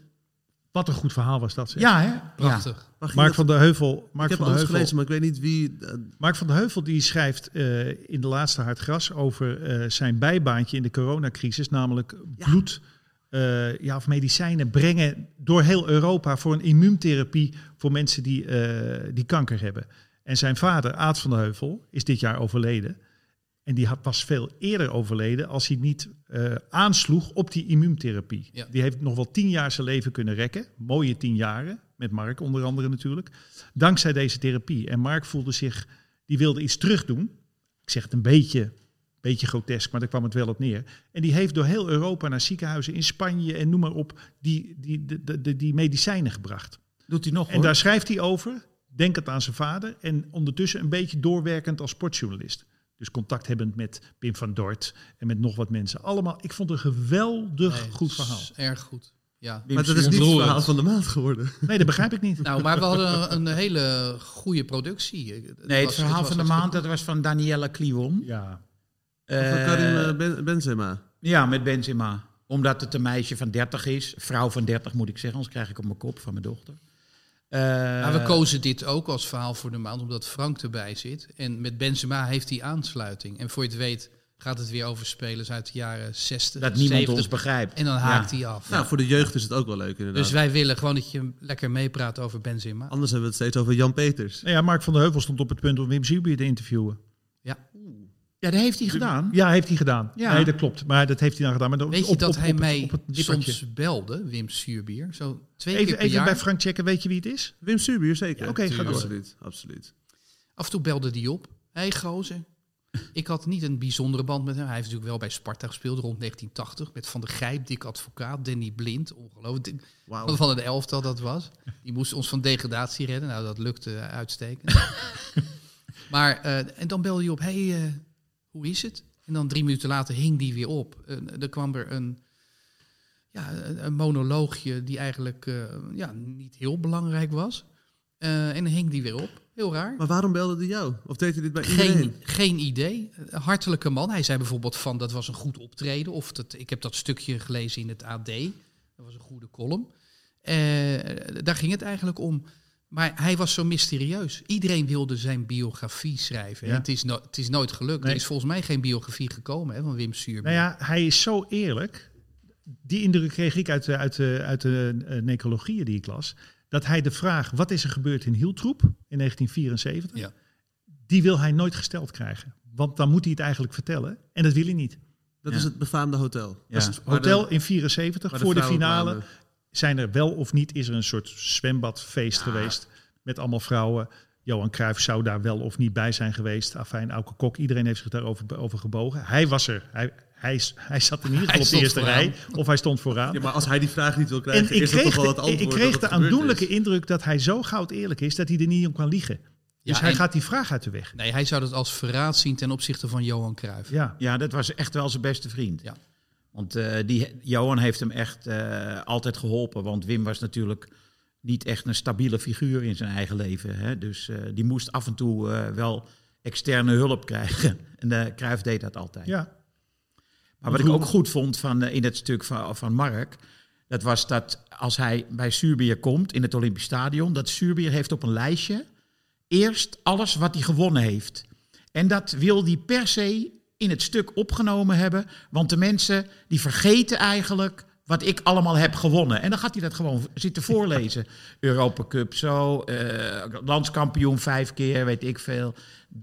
[SPEAKER 3] Wat een goed verhaal was dat, zeg.
[SPEAKER 2] Ja, hè? Ja.
[SPEAKER 1] Prachtig.
[SPEAKER 5] Mag je
[SPEAKER 3] Mark
[SPEAKER 5] dat-
[SPEAKER 3] van der Heuvel,
[SPEAKER 5] ik
[SPEAKER 3] Mark
[SPEAKER 5] heb
[SPEAKER 3] van der
[SPEAKER 5] alles
[SPEAKER 3] Heuvel,
[SPEAKER 5] gelezen, maar ik weet niet wie... eh,
[SPEAKER 3] Mark van der Heuvel die schrijft eh, in de laatste Hard Gras over eh, zijn bijbaantje in de coronacrisis, namelijk bloed eh, ja, of medicijnen brengen door heel Europa voor een immuuntherapie voor mensen die, eh, die kanker hebben. En zijn vader, Aad van der Heuvel, is dit jaar overleden. En die had pas veel eerder overleden als hij niet eh, aansloeg op die immuuntherapie.
[SPEAKER 1] Ja.
[SPEAKER 3] Die heeft nog wel tien jaar zijn leven kunnen rekken. Mooie tien jaren, met Mark onder andere natuurlijk. Dankzij deze therapie. En Mark voelde zich, die wilde iets terugdoen. Ik zeg het een beetje, beetje grotesk, maar daar kwam het wel op neer. En die heeft door heel Europa naar ziekenhuizen in Spanje en noem maar op, die, die, de- de- de- die medicijnen gebracht.
[SPEAKER 2] Doet hij nog,
[SPEAKER 3] En
[SPEAKER 2] hoor.
[SPEAKER 3] daar schrijft hij over, denkend aan zijn vader. En ondertussen een beetje doorwerkend als sportjournalist. Dus contact hebbend met Pim van Dort en met nog wat mensen. Allemaal, ik vond het een geweldig
[SPEAKER 1] Nee,
[SPEAKER 3] goed
[SPEAKER 1] het is
[SPEAKER 3] verhaal.
[SPEAKER 1] Erg goed. Ja.
[SPEAKER 5] Maar dat is niet het
[SPEAKER 1] Ontroerend.
[SPEAKER 5] verhaal van de maand geworden.
[SPEAKER 3] Nee, dat begrijp ik niet.
[SPEAKER 1] Nou, maar we hadden een hele goede productie. Het
[SPEAKER 2] Nee, het
[SPEAKER 1] was-
[SPEAKER 2] verhaal
[SPEAKER 1] was
[SPEAKER 2] van de
[SPEAKER 1] hartstikke
[SPEAKER 2] maand dat was van Danielle Kliwon.
[SPEAKER 3] ja,
[SPEAKER 5] Van
[SPEAKER 2] Eh,
[SPEAKER 5] Karim eh,
[SPEAKER 3] dus
[SPEAKER 5] Ben- Benzema.
[SPEAKER 2] ja, met Benzema. Omdat het een meisje van 30 is. Vrouw van 30 moet ik zeggen, anders krijg ik op mijn kop van mijn dochter. Eh,
[SPEAKER 1] Maar we kozen dit ook als verhaal voor de maand, omdat Frank erbij zit. En met Benzema heeft hij aansluiting. En voor je het weet gaat het weer over spelers uit de jaren 60,
[SPEAKER 2] dat niemand
[SPEAKER 1] 70.
[SPEAKER 2] ons begrijpt.
[SPEAKER 1] En dan haakt hij af.
[SPEAKER 5] Nou, voor de jeugd is het ook wel leuk inderdaad.
[SPEAKER 1] dus wij willen gewoon dat je lekker meepraat over Benzema.
[SPEAKER 5] Anders hebben we het steeds over Jan Peters.
[SPEAKER 3] nou ja, Mark van der Heuvel stond op het punt om Wim Zubier te interviewen.
[SPEAKER 2] Ja, dat heeft hij gedaan.
[SPEAKER 3] Ja, heeft hij gedaan.
[SPEAKER 2] Ja.
[SPEAKER 3] Nee, dat klopt. Maar dat heeft hij dan gedaan. Maar dan
[SPEAKER 1] Weet je
[SPEAKER 3] op-
[SPEAKER 1] dat
[SPEAKER 3] op-
[SPEAKER 1] hij
[SPEAKER 3] op het-
[SPEAKER 1] mij
[SPEAKER 3] op het nippertje.
[SPEAKER 1] soms belde, Wim Suurbier? Zo twee keer
[SPEAKER 3] Even,
[SPEAKER 1] per
[SPEAKER 3] even
[SPEAKER 1] jaar.
[SPEAKER 3] bij Frank checken, weet je wie het is?
[SPEAKER 5] Wim Suurbier zeker.
[SPEAKER 3] Ja, oké,
[SPEAKER 5] Tuurlijk.
[SPEAKER 3] ga door.
[SPEAKER 5] Absoluut, absoluut.
[SPEAKER 1] Af en toe belde die op. Hé hey, gozer, ik had niet een bijzondere band met hem. Hij heeft natuurlijk wel bij Sparta gespeeld rond 1980. Met Van der Gijp, Dick Advocaat, Danny Blind. Ongelooflijk.
[SPEAKER 5] Wauw.
[SPEAKER 1] Wat van een elftal dat was. Die moest ons van degradatie redden. Nou, dat lukte uitstekend. maar, eh, en dan belde hij op, hey, eh, hoe is het? En dan drie minuten later hing die weer op. En eh, er kwam er een, ja, een een monoloogje die eigenlijk eh, ja, niet heel belangrijk was. Eh, en dan hing die weer op. Heel raar.
[SPEAKER 5] Maar waarom belde hij jou? Of deed hij dit bij
[SPEAKER 1] Geen,
[SPEAKER 5] iedereen?
[SPEAKER 1] geen idee. Een hartelijke man. Hij zei bijvoorbeeld van dat was een goed optreden. Of dat, ik heb dat stukje gelezen in het AD. Dat was een goede column. Eh, daar ging het eigenlijk om. Maar hij was zo mysterieus. Iedereen wilde zijn biografie schrijven.
[SPEAKER 3] Ja.
[SPEAKER 1] En het, is no- het is nooit gelukt.
[SPEAKER 3] Nee.
[SPEAKER 1] Er is volgens mij geen biografie gekomen hè, van Wim Suurbeer.
[SPEAKER 3] Nou ja, hij is zo eerlijk. Die indruk kreeg ik uit, de- uit, de- uit de eh, necrologieën die ik las. Dat hij de vraag, wat is er gebeurd in Hieltroep in 1974?
[SPEAKER 1] Ja.
[SPEAKER 3] Die wil hij nooit gesteld krijgen. Want dan moet hij het eigenlijk vertellen. En dat wil hij niet.
[SPEAKER 5] Dat
[SPEAKER 2] Ja.
[SPEAKER 5] is het befaamde hotel.
[SPEAKER 2] Ja.
[SPEAKER 5] Dat is waar de-
[SPEAKER 3] Hotel in 74,
[SPEAKER 5] waar
[SPEAKER 3] voor de
[SPEAKER 5] vrouwen
[SPEAKER 3] finale.
[SPEAKER 5] kwamen.
[SPEAKER 3] Zijn er wel of niet, is er een soort zwembadfeest geweest. Met allemaal vrouwen. Johan Cruijff zou daar wel of niet bij zijn geweest. Afijn, Auke Kok, iedereen heeft zich daarover over gebogen. Hij was er. Hij, hij, hij zat in ieder geval op de
[SPEAKER 1] stond
[SPEAKER 3] eerste
[SPEAKER 1] vooraan.
[SPEAKER 3] rij. Of hij stond vooraan.
[SPEAKER 5] Ja, maar als hij die vraag niet wil
[SPEAKER 3] En
[SPEAKER 5] krijgen,
[SPEAKER 3] ik
[SPEAKER 5] is dat toch
[SPEAKER 3] kreeg,
[SPEAKER 5] wel het
[SPEAKER 3] de,
[SPEAKER 5] antwoord
[SPEAKER 3] ik
[SPEAKER 5] dat
[SPEAKER 3] kreeg
[SPEAKER 5] het
[SPEAKER 3] de
[SPEAKER 5] gebeurd
[SPEAKER 3] aandoenlijke
[SPEAKER 5] is.
[SPEAKER 3] indruk dat hij zo goud eerlijk is dat hij er niet om kan liegen. Dus
[SPEAKER 1] Ja,
[SPEAKER 3] hij
[SPEAKER 1] en-
[SPEAKER 3] gaat die vraag uit de weg.
[SPEAKER 1] Nee, hij zou dat als verraad zien ten opzichte van Johan Cruijff.
[SPEAKER 3] Ja.
[SPEAKER 2] Ja, dat was echt wel zijn beste vriend.
[SPEAKER 1] Ja.
[SPEAKER 2] Want eh, die, Johan heeft hem echt eh, altijd geholpen. Want Wim was natuurlijk niet echt een stabiele figuur in zijn eigen leven. Hè? Dus eh, die moest af en toe eh, wel externe hulp krijgen. En eh Cruijff deed dat altijd.
[SPEAKER 3] ja.
[SPEAKER 2] Maar wat ik ook goed vond van, eh, in het stuk van, van Mark... dat was dat als hij bij Suurbier komt in het Olympisch Stadion... dat Suurbier heeft op een lijstje eerst alles wat hij gewonnen heeft. En dat wil hij per se in het stuk opgenomen hebben... want de mensen die vergeten eigenlijk wat ik allemaal heb gewonnen. En dan gaat hij dat gewoon zitten voorlezen. Europa Cup zo, eh, landskampioen vijf keer, weet ik veel.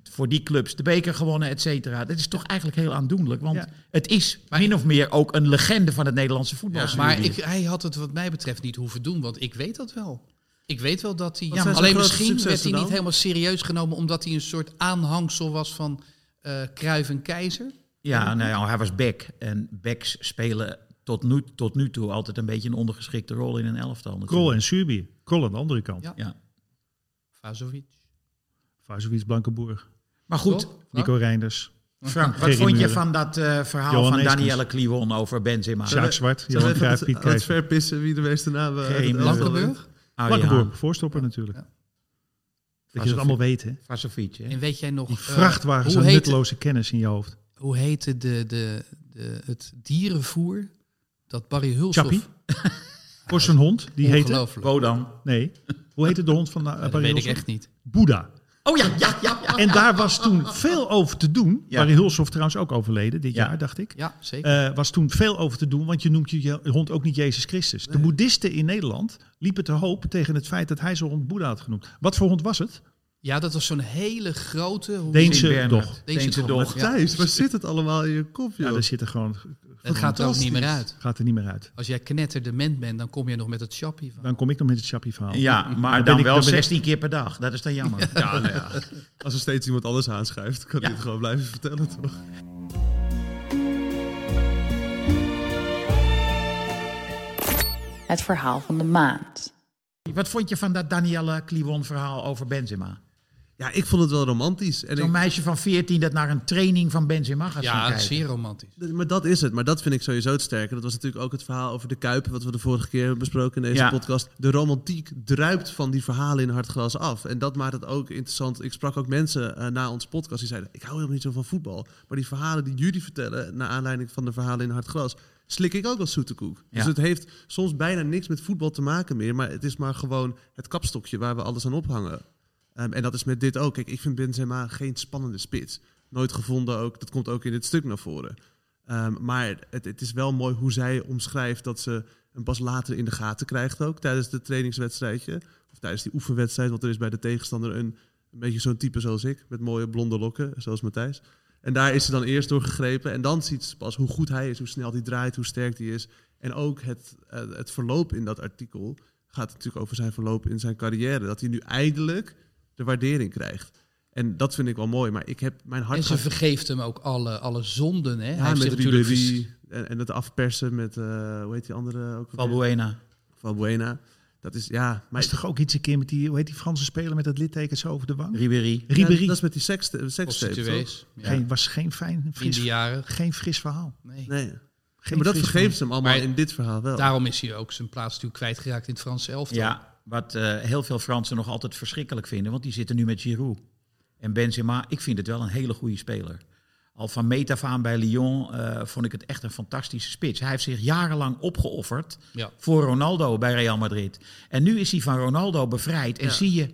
[SPEAKER 2] Voor die clubs de beker gewonnen, et cetera. Dat is toch eigenlijk heel aandoenlijk. Want
[SPEAKER 3] Ja.
[SPEAKER 2] het is min of meer ook een legende van het Nederlandse voetbal.
[SPEAKER 1] Ja, maar ik, hij had het wat mij betreft niet hoeven doen, want ik weet dat wel. Ik weet wel dat hij...
[SPEAKER 5] zijn zijn
[SPEAKER 1] alleen
[SPEAKER 5] grote
[SPEAKER 1] misschien werd
[SPEAKER 5] successen
[SPEAKER 1] hij niet
[SPEAKER 5] dan?
[SPEAKER 1] helemaal serieus genomen... omdat hij een soort aanhangsel was van eh Kruif en Keizer.
[SPEAKER 2] Ja, nou ja, hij was back. En backs spelen tot nu, tot nu toe altijd een beetje een ondergeschikte rol in een elftal. natuurlijk.
[SPEAKER 3] Krol en Surbier. Krol aan de andere kant.
[SPEAKER 1] Ja.
[SPEAKER 3] Ja.
[SPEAKER 2] Ja.
[SPEAKER 1] Vazovic.
[SPEAKER 3] Vazovic Blankenburg.
[SPEAKER 2] Maar goed,
[SPEAKER 1] Toch? Frank?
[SPEAKER 3] Nico Reinders,
[SPEAKER 2] Frank, wat
[SPEAKER 3] Gerrie
[SPEAKER 2] vond je
[SPEAKER 3] Muren.
[SPEAKER 2] van dat eh, verhaal
[SPEAKER 3] Johan
[SPEAKER 2] van
[SPEAKER 3] Neeskens.
[SPEAKER 2] Danielle Kliwon over Benzema?
[SPEAKER 3] Jacques
[SPEAKER 5] we-
[SPEAKER 3] Zwart,
[SPEAKER 5] Zullen
[SPEAKER 3] Johan
[SPEAKER 5] we even
[SPEAKER 3] Cruijp,
[SPEAKER 5] aan
[SPEAKER 3] Piet
[SPEAKER 5] het- aan het
[SPEAKER 3] Keizer.
[SPEAKER 5] verpissen wie de meeste namen uit
[SPEAKER 2] Geen
[SPEAKER 5] het elftal
[SPEAKER 1] Blankenburg?
[SPEAKER 5] heeft?
[SPEAKER 2] Oh,
[SPEAKER 3] Lakkenburg, voorstopper natuurlijk. Dat je
[SPEAKER 2] Alsof-
[SPEAKER 3] dat allemaal weet,
[SPEAKER 2] Eh,
[SPEAKER 3] hè?
[SPEAKER 2] Vasovietje.
[SPEAKER 1] En weet jij nog...
[SPEAKER 3] Die
[SPEAKER 1] eh,
[SPEAKER 3] vrachtwagens
[SPEAKER 1] hoe
[SPEAKER 3] aan
[SPEAKER 1] heette,
[SPEAKER 3] nutteloze kennis in je hoofd.
[SPEAKER 1] hoe heette de, de, de, het dierenvoer dat Barry Hulshoff...
[SPEAKER 3] Chappie? Voor zijn hond, die heette...
[SPEAKER 1] Ongelooflijk.
[SPEAKER 2] Rodan.
[SPEAKER 3] Nee, hoe heette de hond van eh,
[SPEAKER 1] dat
[SPEAKER 3] Barry
[SPEAKER 1] weet ik
[SPEAKER 3] Hulshoff?
[SPEAKER 1] echt niet.
[SPEAKER 3] Boeddha.
[SPEAKER 2] Oh ja, ja, ja. ja.
[SPEAKER 3] En daar was toen veel over te doen.
[SPEAKER 2] Ja.
[SPEAKER 3] Barry Hulshoff trouwens ook overleden dit
[SPEAKER 2] Ja.
[SPEAKER 3] jaar, dacht ik.
[SPEAKER 1] Ja, zeker.
[SPEAKER 3] Eh, was toen veel over te doen, want je noemt je je hond ook niet Jezus Christus. De boeddhisten in Nederland liepen te hoop tegen het feit dat hij zijn hond Boeddha had genoemd. Wat voor hond was het?
[SPEAKER 1] ja, dat was zo'n hele grote... hoe-
[SPEAKER 3] Deense
[SPEAKER 2] Bernhard.
[SPEAKER 3] dog.
[SPEAKER 1] Deense
[SPEAKER 2] Deense
[SPEAKER 1] dog,
[SPEAKER 2] dog.
[SPEAKER 1] ja.
[SPEAKER 5] Thijs, waar zit het allemaal in je kop,
[SPEAKER 3] Ja,
[SPEAKER 5] joh?
[SPEAKER 3] daar zitten gewoon,
[SPEAKER 1] Het gaat er ook niet meer uit.
[SPEAKER 3] gaat er niet meer uit.
[SPEAKER 1] Als jij knetterdement bent, dan kom je nog met het chappie van.
[SPEAKER 3] Dan kom ik nog met het chappie verhaal.
[SPEAKER 2] Ja, maar
[SPEAKER 3] ben
[SPEAKER 2] dan
[SPEAKER 3] ik-
[SPEAKER 2] wel
[SPEAKER 3] dan ben ik-
[SPEAKER 2] 16 keer per dag. Dat is dan jammer. Ja, nou ja.
[SPEAKER 5] Als er steeds iemand anders aanschuift, kan hij het gewoon blijven vertellen, toch?
[SPEAKER 6] Het verhaal van de maand.
[SPEAKER 2] Wat vond je van dat Danielle Kliwon verhaal over Benzema?
[SPEAKER 5] Ja, ik vond het wel romantisch. En ik-
[SPEAKER 2] Zo'n meisje van 14 dat naar een training van Benzema gaat gaan
[SPEAKER 1] Ja,
[SPEAKER 2] kijken.
[SPEAKER 1] zeer romantisch.
[SPEAKER 5] Maar dat is het. Maar dat vind ik sowieso het sterke. Dat was natuurlijk ook het verhaal over de Kuip, wat we de vorige keer hebben besproken in deze
[SPEAKER 2] Ja.
[SPEAKER 5] podcast. De romantiek druipt van die verhalen in hartgras af. En dat maakt het ook interessant. Ik sprak ook mensen eh, na onze podcast die zeiden, ik hou helemaal niet zo van voetbal. Maar die verhalen die jullie vertellen, naar aanleiding van de verhalen in hartgras, slik ik ook als zoete koek. Dus
[SPEAKER 2] Ja.
[SPEAKER 5] het heeft soms bijna niks met voetbal te maken meer. Maar het is maar gewoon het kapstokje waar we alles aan ophangen. Ehm, en dat is met dit ook. Kijk, ik vind Benzema geen spannende spits. Nooit gevonden ook. Dat komt ook in dit stuk naar voren. Ehm, maar het, het is wel mooi hoe zij omschrijft dat ze hem pas later in de gaten krijgt ook. Tijdens de trainingswedstrijdje. Of tijdens die oefenwedstrijd. Want er is bij de tegenstander een, een beetje zo'n type zoals ik. Met mooie blonde lokken, zoals Matthijs. En daar is ze dan eerst door gegrepen. En dan ziet ze pas hoe goed hij is, hoe snel hij draait, hoe sterk hij is. En ook het, eh, het verloop in dat artikel gaat natuurlijk over zijn verloop in zijn carrière. Dat hij nu eindelijk de waardering krijgt. En dat vind ik wel mooi. Maar ik heb mijn hart...
[SPEAKER 1] En ze
[SPEAKER 5] gaat-
[SPEAKER 1] vergeeft hem ook alle, alle zonden. Hè?
[SPEAKER 5] ja,
[SPEAKER 1] heeft
[SPEAKER 5] met
[SPEAKER 1] zich natuurlijk
[SPEAKER 5] Ribéry en, en het afpersen met, eh, hoe heet die andere ook? alweer?
[SPEAKER 2] Valbuena.
[SPEAKER 5] Valbuena. Dat is, ja...
[SPEAKER 3] Maar is toch ook iets een keer met die, hoe heet die Franse speler met dat litteken zo over de wang?
[SPEAKER 2] Ribéry.
[SPEAKER 3] Ribéry.
[SPEAKER 5] Ja, dat is met die seks- eh, sekstape, toch?
[SPEAKER 1] prostituees. Ja.
[SPEAKER 3] Geen, was geen fijn, fris,
[SPEAKER 1] Minderjarig.
[SPEAKER 3] geen fris verhaal.
[SPEAKER 1] Nee.
[SPEAKER 5] Nee. Ja,
[SPEAKER 3] Geen
[SPEAKER 5] maar dat
[SPEAKER 3] fris
[SPEAKER 5] vergeeft ze hem allemaal
[SPEAKER 1] Maar
[SPEAKER 5] in dit verhaal wel.
[SPEAKER 1] Daarom is hij ook zijn plaats natuurlijk kwijtgeraakt in het Franse elftal.
[SPEAKER 2] Ja, wat eh, heel veel Fransen nog altijd verschrikkelijk vinden. Want die zitten nu met Giroud. En Benzema, ik vind het wel een hele goede speler. Al van meet af aan bij Lyon eh, vond ik het echt een fantastische spits. Hij heeft zich jarenlang opgeofferd
[SPEAKER 1] Ja.
[SPEAKER 2] voor Ronaldo bij Real Madrid. En nu is hij van Ronaldo bevrijd. En zie je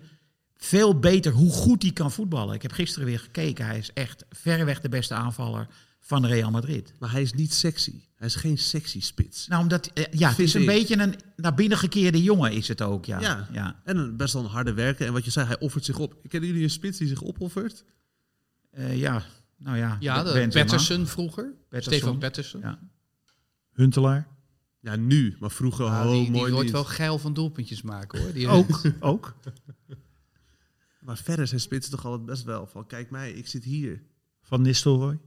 [SPEAKER 2] veel beter hoe goed hij kan voetballen. Ik heb gisteren weer gekeken. Hij is echt verreweg de beste aanvaller van Real Madrid.
[SPEAKER 5] Maar hij is niet sexy. Hij is geen sexy spits.
[SPEAKER 2] Nou, omdat, eh, ja, het
[SPEAKER 5] Vind
[SPEAKER 2] is een
[SPEAKER 5] ik.
[SPEAKER 2] beetje een naar binnen gekeerde jongen is het ook. Ja,
[SPEAKER 5] Ja.
[SPEAKER 2] ja. ja.
[SPEAKER 5] En een- best wel een harde werker. En wat je zei, hij offert zich op. Kennen jullie een spits die zich opoffert?
[SPEAKER 2] Eh, ja. nou ja.
[SPEAKER 1] Ja, de eh,
[SPEAKER 2] Benzema.
[SPEAKER 1] Patterson vroeger.
[SPEAKER 2] Patterson.
[SPEAKER 1] Stefan Patterson.
[SPEAKER 2] Ja.
[SPEAKER 3] Huntelaar.
[SPEAKER 5] Ja, nu. Maar vroeger,
[SPEAKER 1] Ja,
[SPEAKER 5] oh,
[SPEAKER 1] die, die
[SPEAKER 5] mooi
[SPEAKER 1] wordt
[SPEAKER 5] niet.
[SPEAKER 1] wel geil van doelpuntjes maken hoor. Die
[SPEAKER 3] Ook, ook.
[SPEAKER 5] Maar verder zijn spitsen toch altijd best wel van... Kijk mij, ik zit hier.
[SPEAKER 3] Van Nistelrooy.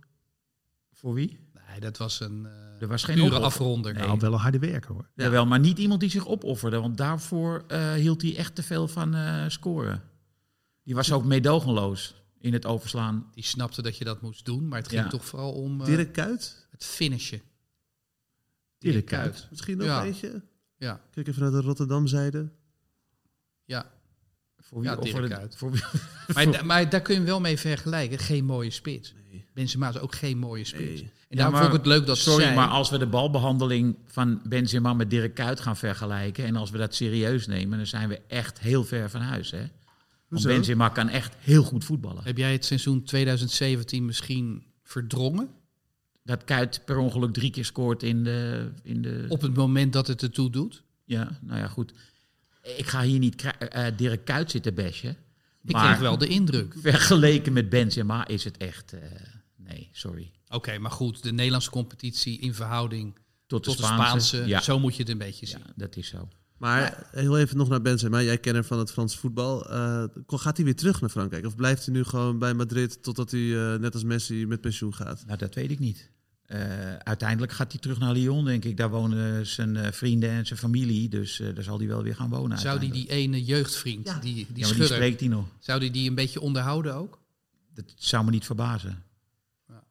[SPEAKER 2] Voor wie?
[SPEAKER 1] Nee, dat was een eh
[SPEAKER 2] Er was geen
[SPEAKER 1] pure
[SPEAKER 2] ophef.
[SPEAKER 1] afronder.
[SPEAKER 3] Nou, wel een harde werker hoor.
[SPEAKER 5] Ja.
[SPEAKER 2] Jawel, maar niet iemand die zich opofferde. Want daarvoor eh, hield hij echt te veel van eh, scoren. Die was ook meedogenloos in het overslaan.
[SPEAKER 1] Die snapte dat je dat moest doen, maar het ging
[SPEAKER 2] Ja.
[SPEAKER 1] toch vooral om eh,
[SPEAKER 5] Dirk Kuyt?
[SPEAKER 1] het finishen.
[SPEAKER 3] Dirk
[SPEAKER 1] Kuyt.
[SPEAKER 5] Misschien nog
[SPEAKER 1] Ja.
[SPEAKER 5] eentje?
[SPEAKER 1] Ja,
[SPEAKER 5] Kijk even naar de Rotterdamzijde.
[SPEAKER 1] ja.
[SPEAKER 2] Voor wie
[SPEAKER 1] Ja, Dirk
[SPEAKER 2] offerde-
[SPEAKER 1] uit.
[SPEAKER 2] Voor wie?
[SPEAKER 1] Maar, da- maar daar kun je hem wel mee vergelijken. Geen mooie spits. Benzema is ook geen mooie spits.
[SPEAKER 5] Nee.
[SPEAKER 1] En daarom
[SPEAKER 2] maar-
[SPEAKER 1] vond ik het leuk dat
[SPEAKER 2] Sorry,
[SPEAKER 1] zij...
[SPEAKER 2] maar als we de balbehandeling van Benzema met Dirk Kuyt gaan vergelijken... en als we dat serieus nemen, dan zijn we echt heel ver van huis. Hè? Want
[SPEAKER 5] Hoezo?
[SPEAKER 2] Benzema kan echt heel goed voetballen.
[SPEAKER 1] Heb jij het seizoen 2017 misschien verdrongen?
[SPEAKER 2] Dat Kuyt per ongeluk drie keer scoort in de... In de
[SPEAKER 1] Op het moment dat het ertoe doet?
[SPEAKER 2] Ja, nou ja, goed. Ik ga hier niet kra- eh, Dirk Kuyt zitten bashen.
[SPEAKER 1] Ik
[SPEAKER 2] Maar-
[SPEAKER 1] kreeg wel de indruk.
[SPEAKER 2] Vergeleken met Benzema is het echt... eh, nee, sorry.
[SPEAKER 1] Oké, maar goed, de Nederlandse competitie in verhouding
[SPEAKER 2] Tot de
[SPEAKER 1] tot de
[SPEAKER 2] Spaanse.
[SPEAKER 1] Spaanse,
[SPEAKER 2] ja,
[SPEAKER 1] zo moet je het een beetje zien.
[SPEAKER 2] ja, dat is zo.
[SPEAKER 5] Maar heel even nog naar Benzema. Jij kenner van het Frans voetbal. Eh, gaat hij weer terug naar Frankrijk? Of blijft hij nu gewoon bij Madrid totdat hij, eh, net als Messi, met pensioen gaat?
[SPEAKER 2] Nou, dat weet ik niet. Eh, uiteindelijk gaat hij terug naar Lyon, denk ik. Daar wonen zijn eh, vrienden en zijn familie. Dus eh, daar zal hij wel weer gaan wonen.
[SPEAKER 1] Zou die
[SPEAKER 2] uiteindelijk.
[SPEAKER 1] die ene jeugdvriend, die, die
[SPEAKER 2] ja, maar die
[SPEAKER 1] schurk,
[SPEAKER 2] spreekt hij nog.
[SPEAKER 1] zou die die een beetje onderhouden ook?
[SPEAKER 2] Dat zou me niet verbazen.
[SPEAKER 1] Ja.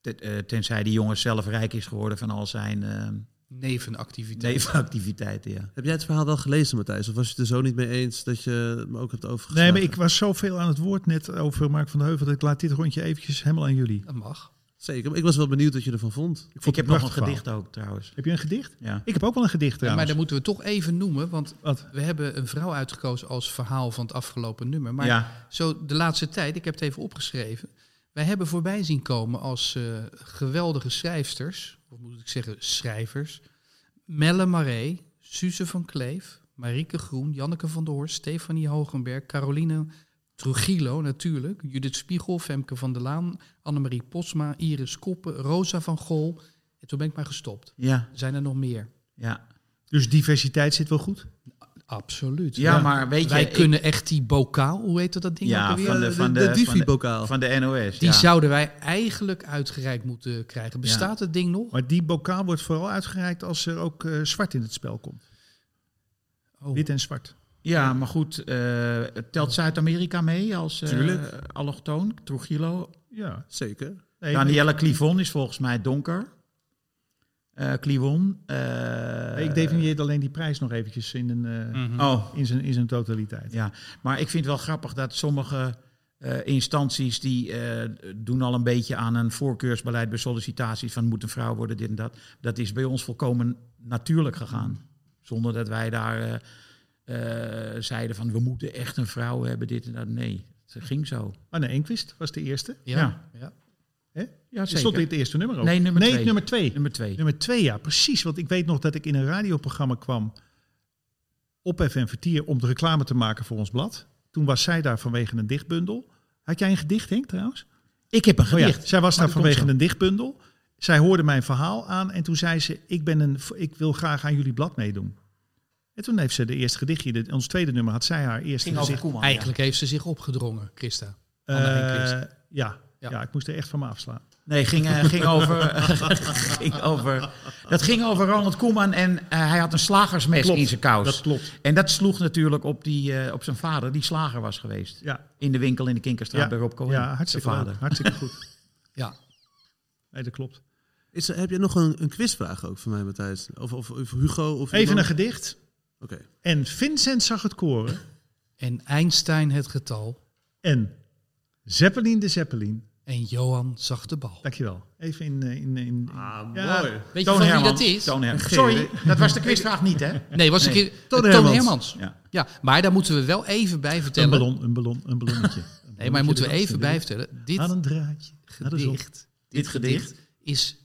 [SPEAKER 2] Ten- eh, tenzij die jongen zelf rijk is geworden van al zijn eh,
[SPEAKER 1] Nevenactiviteit.
[SPEAKER 2] nevenactiviteiten. Ja.
[SPEAKER 5] Heb jij het verhaal wel gelezen, Matthijs? Of was je het er zo niet mee eens dat je het me ook hebt
[SPEAKER 3] Nee,
[SPEAKER 5] overgeslagen?
[SPEAKER 3] maar ik was zoveel aan het woord net over Mark van der Heuvel... dat ik laat dit rondje eventjes helemaal aan jullie.
[SPEAKER 1] Dat mag.
[SPEAKER 5] Zeker, maar ik was wel benieuwd wat je ervan vond.
[SPEAKER 3] Ik, vond
[SPEAKER 2] Ik
[SPEAKER 3] het
[SPEAKER 2] heb nog een
[SPEAKER 3] prachtig verhaal.
[SPEAKER 2] gedicht ook trouwens.
[SPEAKER 3] Heb je een gedicht?
[SPEAKER 2] Ja.
[SPEAKER 3] Ik heb ook wel een
[SPEAKER 1] Ja,
[SPEAKER 3] gedicht
[SPEAKER 1] maar
[SPEAKER 3] trouwens.
[SPEAKER 1] dat moeten we toch even noemen, want
[SPEAKER 3] Wat?
[SPEAKER 1] we hebben een vrouw uitgekozen als verhaal van het afgelopen nummer. Maar
[SPEAKER 2] ja.
[SPEAKER 1] zo de laatste tijd, ik heb het even opgeschreven. Wij hebben voorbij zien komen als eh, geweldige schrijfsters, of moet ik zeggen schrijvers, Melle Marais, Suze van Kleef, Marieke Groen, Janneke van der Horst, Stefanie Hogenberg, Caroline Trujillo natuurlijk, Judith Spiegel, Femke van der Laan, Annemarie Posma, Iris Koppen, Rosa van Gol. En toen ben ik maar gestopt.
[SPEAKER 2] Ja,
[SPEAKER 1] Zijn er nog meer?
[SPEAKER 2] ja.
[SPEAKER 3] Dus diversiteit zit wel goed?
[SPEAKER 1] Absoluut.
[SPEAKER 2] ja, maar weet je...
[SPEAKER 1] Wij
[SPEAKER 2] ik-
[SPEAKER 1] kunnen echt die bokaal, hoe heet dat, dat ding ook
[SPEAKER 2] ja,
[SPEAKER 1] alweer?
[SPEAKER 2] van de,
[SPEAKER 5] De-
[SPEAKER 2] van
[SPEAKER 5] de
[SPEAKER 2] de,
[SPEAKER 5] Divi-bokaal.
[SPEAKER 2] Van de NOS.
[SPEAKER 1] Die
[SPEAKER 2] ja.
[SPEAKER 1] zouden wij eigenlijk uitgereikt moeten krijgen. Bestaat het ding nog?
[SPEAKER 3] Maar die bokaal wordt vooral uitgereikt als er ook eh, zwart in het spel komt.
[SPEAKER 1] Oh.
[SPEAKER 3] Wit en zwart.
[SPEAKER 2] Ja, maar goed, eh, telt Zuid-Amerika mee als eh
[SPEAKER 5] Tuurlijk.
[SPEAKER 2] allochtoon? Trujillo?
[SPEAKER 3] Ja.
[SPEAKER 5] Zeker.
[SPEAKER 3] Nee,
[SPEAKER 2] Danielle Clivon is volgens mij donker. Eh Clivon.
[SPEAKER 3] nee,
[SPEAKER 2] eh,
[SPEAKER 3] Ik definieer alleen die prijs nog eventjes in, een, eh,
[SPEAKER 2] Oh,
[SPEAKER 3] in, zijn, in zijn totaliteit.
[SPEAKER 2] ja. Maar ik vind het wel grappig dat sommige eh, instanties... die eh, doen al een beetje aan een voorkeursbeleid bij sollicitaties... van moet een vrouw worden, dit en dat. Dat is bij ons volkomen natuurlijk gegaan. Zonder dat wij daar eh, eh, zeiden van... we moeten echt een vrouw hebben, dit en dat. Nee, het ging zo.
[SPEAKER 3] Anne Ah, Enquist was de eerste.
[SPEAKER 1] Ja, ja.
[SPEAKER 3] Hè?
[SPEAKER 2] Ja,
[SPEAKER 3] Ze Stond dit het eerste nummer ook?
[SPEAKER 2] Nee, nummer
[SPEAKER 3] nee,
[SPEAKER 2] twee.
[SPEAKER 3] nummer twee.
[SPEAKER 2] Nummer twee.
[SPEAKER 3] Nummer twee, ja, precies. Want ik weet nog dat ik in een radioprogramma kwam op FM Vertier om de reclame te maken voor ons blad. Toen was zij daar vanwege een dichtbundel. Had jij een gedicht, Henk, trouwens?
[SPEAKER 2] Ik heb een
[SPEAKER 3] Oh ja,
[SPEAKER 2] gedicht.
[SPEAKER 3] zij was
[SPEAKER 2] Maar
[SPEAKER 3] daar
[SPEAKER 2] dat komt
[SPEAKER 3] vanwege een dichtbundel. Zij hoorde mijn verhaal aan en toen zei ze, ik, ben een, ik wil graag aan jullie blad meedoen. En toen heeft ze de eerste gedichtje, dit- ons tweede nummer, had zij haar eerste
[SPEAKER 2] Ging over
[SPEAKER 3] gedicht.
[SPEAKER 2] Koeman.
[SPEAKER 1] Eigenlijk heeft ze zich opgedrongen, Christa.
[SPEAKER 3] Eh,
[SPEAKER 1] Anne Enquist.
[SPEAKER 3] ja,
[SPEAKER 1] Ja.
[SPEAKER 3] ja. ik moest er echt van me afslaan.
[SPEAKER 2] Nee, ging, eh, ging, over, ging over. Dat ging over Ronald Koeman en eh, hij had een slagersmes
[SPEAKER 3] Klopt,
[SPEAKER 2] in zijn kous.
[SPEAKER 3] Dat klopt.
[SPEAKER 2] En dat sloeg natuurlijk op, die, eh, op zijn vader, die slager was geweest.
[SPEAKER 3] Ja,
[SPEAKER 2] In de winkel in de Kinkerstraat
[SPEAKER 3] Ja,
[SPEAKER 2] bij Rob Cohen.
[SPEAKER 3] ja hartstikke,
[SPEAKER 2] zijn
[SPEAKER 3] leuk,
[SPEAKER 2] vader.
[SPEAKER 3] hartstikke goed.
[SPEAKER 1] Ja.
[SPEAKER 3] Nee, dat klopt.
[SPEAKER 5] Is, er- heb je nog een, een quizvraag ook voor mij, Matthijs? Of, of, of Hugo? Of
[SPEAKER 3] Even een
[SPEAKER 5] iemand?
[SPEAKER 3] gedicht.
[SPEAKER 5] Oké.
[SPEAKER 3] En Vincent zag het koren.
[SPEAKER 1] En Einstein het getal
[SPEAKER 3] En Zeppelin de Zeppelin.
[SPEAKER 1] en Johan zag de bal.
[SPEAKER 3] Dankjewel. Even in... eh, in, in
[SPEAKER 5] Ah,
[SPEAKER 3] Ja.
[SPEAKER 5] mooi.
[SPEAKER 1] Weet je
[SPEAKER 2] Toon
[SPEAKER 1] van wie
[SPEAKER 2] Hermans.
[SPEAKER 1] dat is?
[SPEAKER 2] Toon Hermans.
[SPEAKER 5] Geen
[SPEAKER 2] Sorry,
[SPEAKER 5] idee.
[SPEAKER 2] dat was de quizvraag niet, hè?
[SPEAKER 1] Nee, was een
[SPEAKER 2] Nee.
[SPEAKER 1] keer
[SPEAKER 5] Toon
[SPEAKER 1] Toon,
[SPEAKER 5] Hermans.
[SPEAKER 1] Hermans.
[SPEAKER 2] Ja.
[SPEAKER 1] Ja, maar daar moeten we wel even bij
[SPEAKER 3] een
[SPEAKER 1] vertellen.
[SPEAKER 3] ballon, een ballon, een ballonnetje. Een
[SPEAKER 1] nee, maar moeten we
[SPEAKER 3] ballonnetje
[SPEAKER 1] even
[SPEAKER 3] ernaast
[SPEAKER 1] bij
[SPEAKER 3] en
[SPEAKER 1] vertellen.
[SPEAKER 3] weer.
[SPEAKER 1] Dit
[SPEAKER 3] Aan een draadje. naar de zon.
[SPEAKER 1] gedicht,
[SPEAKER 2] Dit gedicht.
[SPEAKER 1] is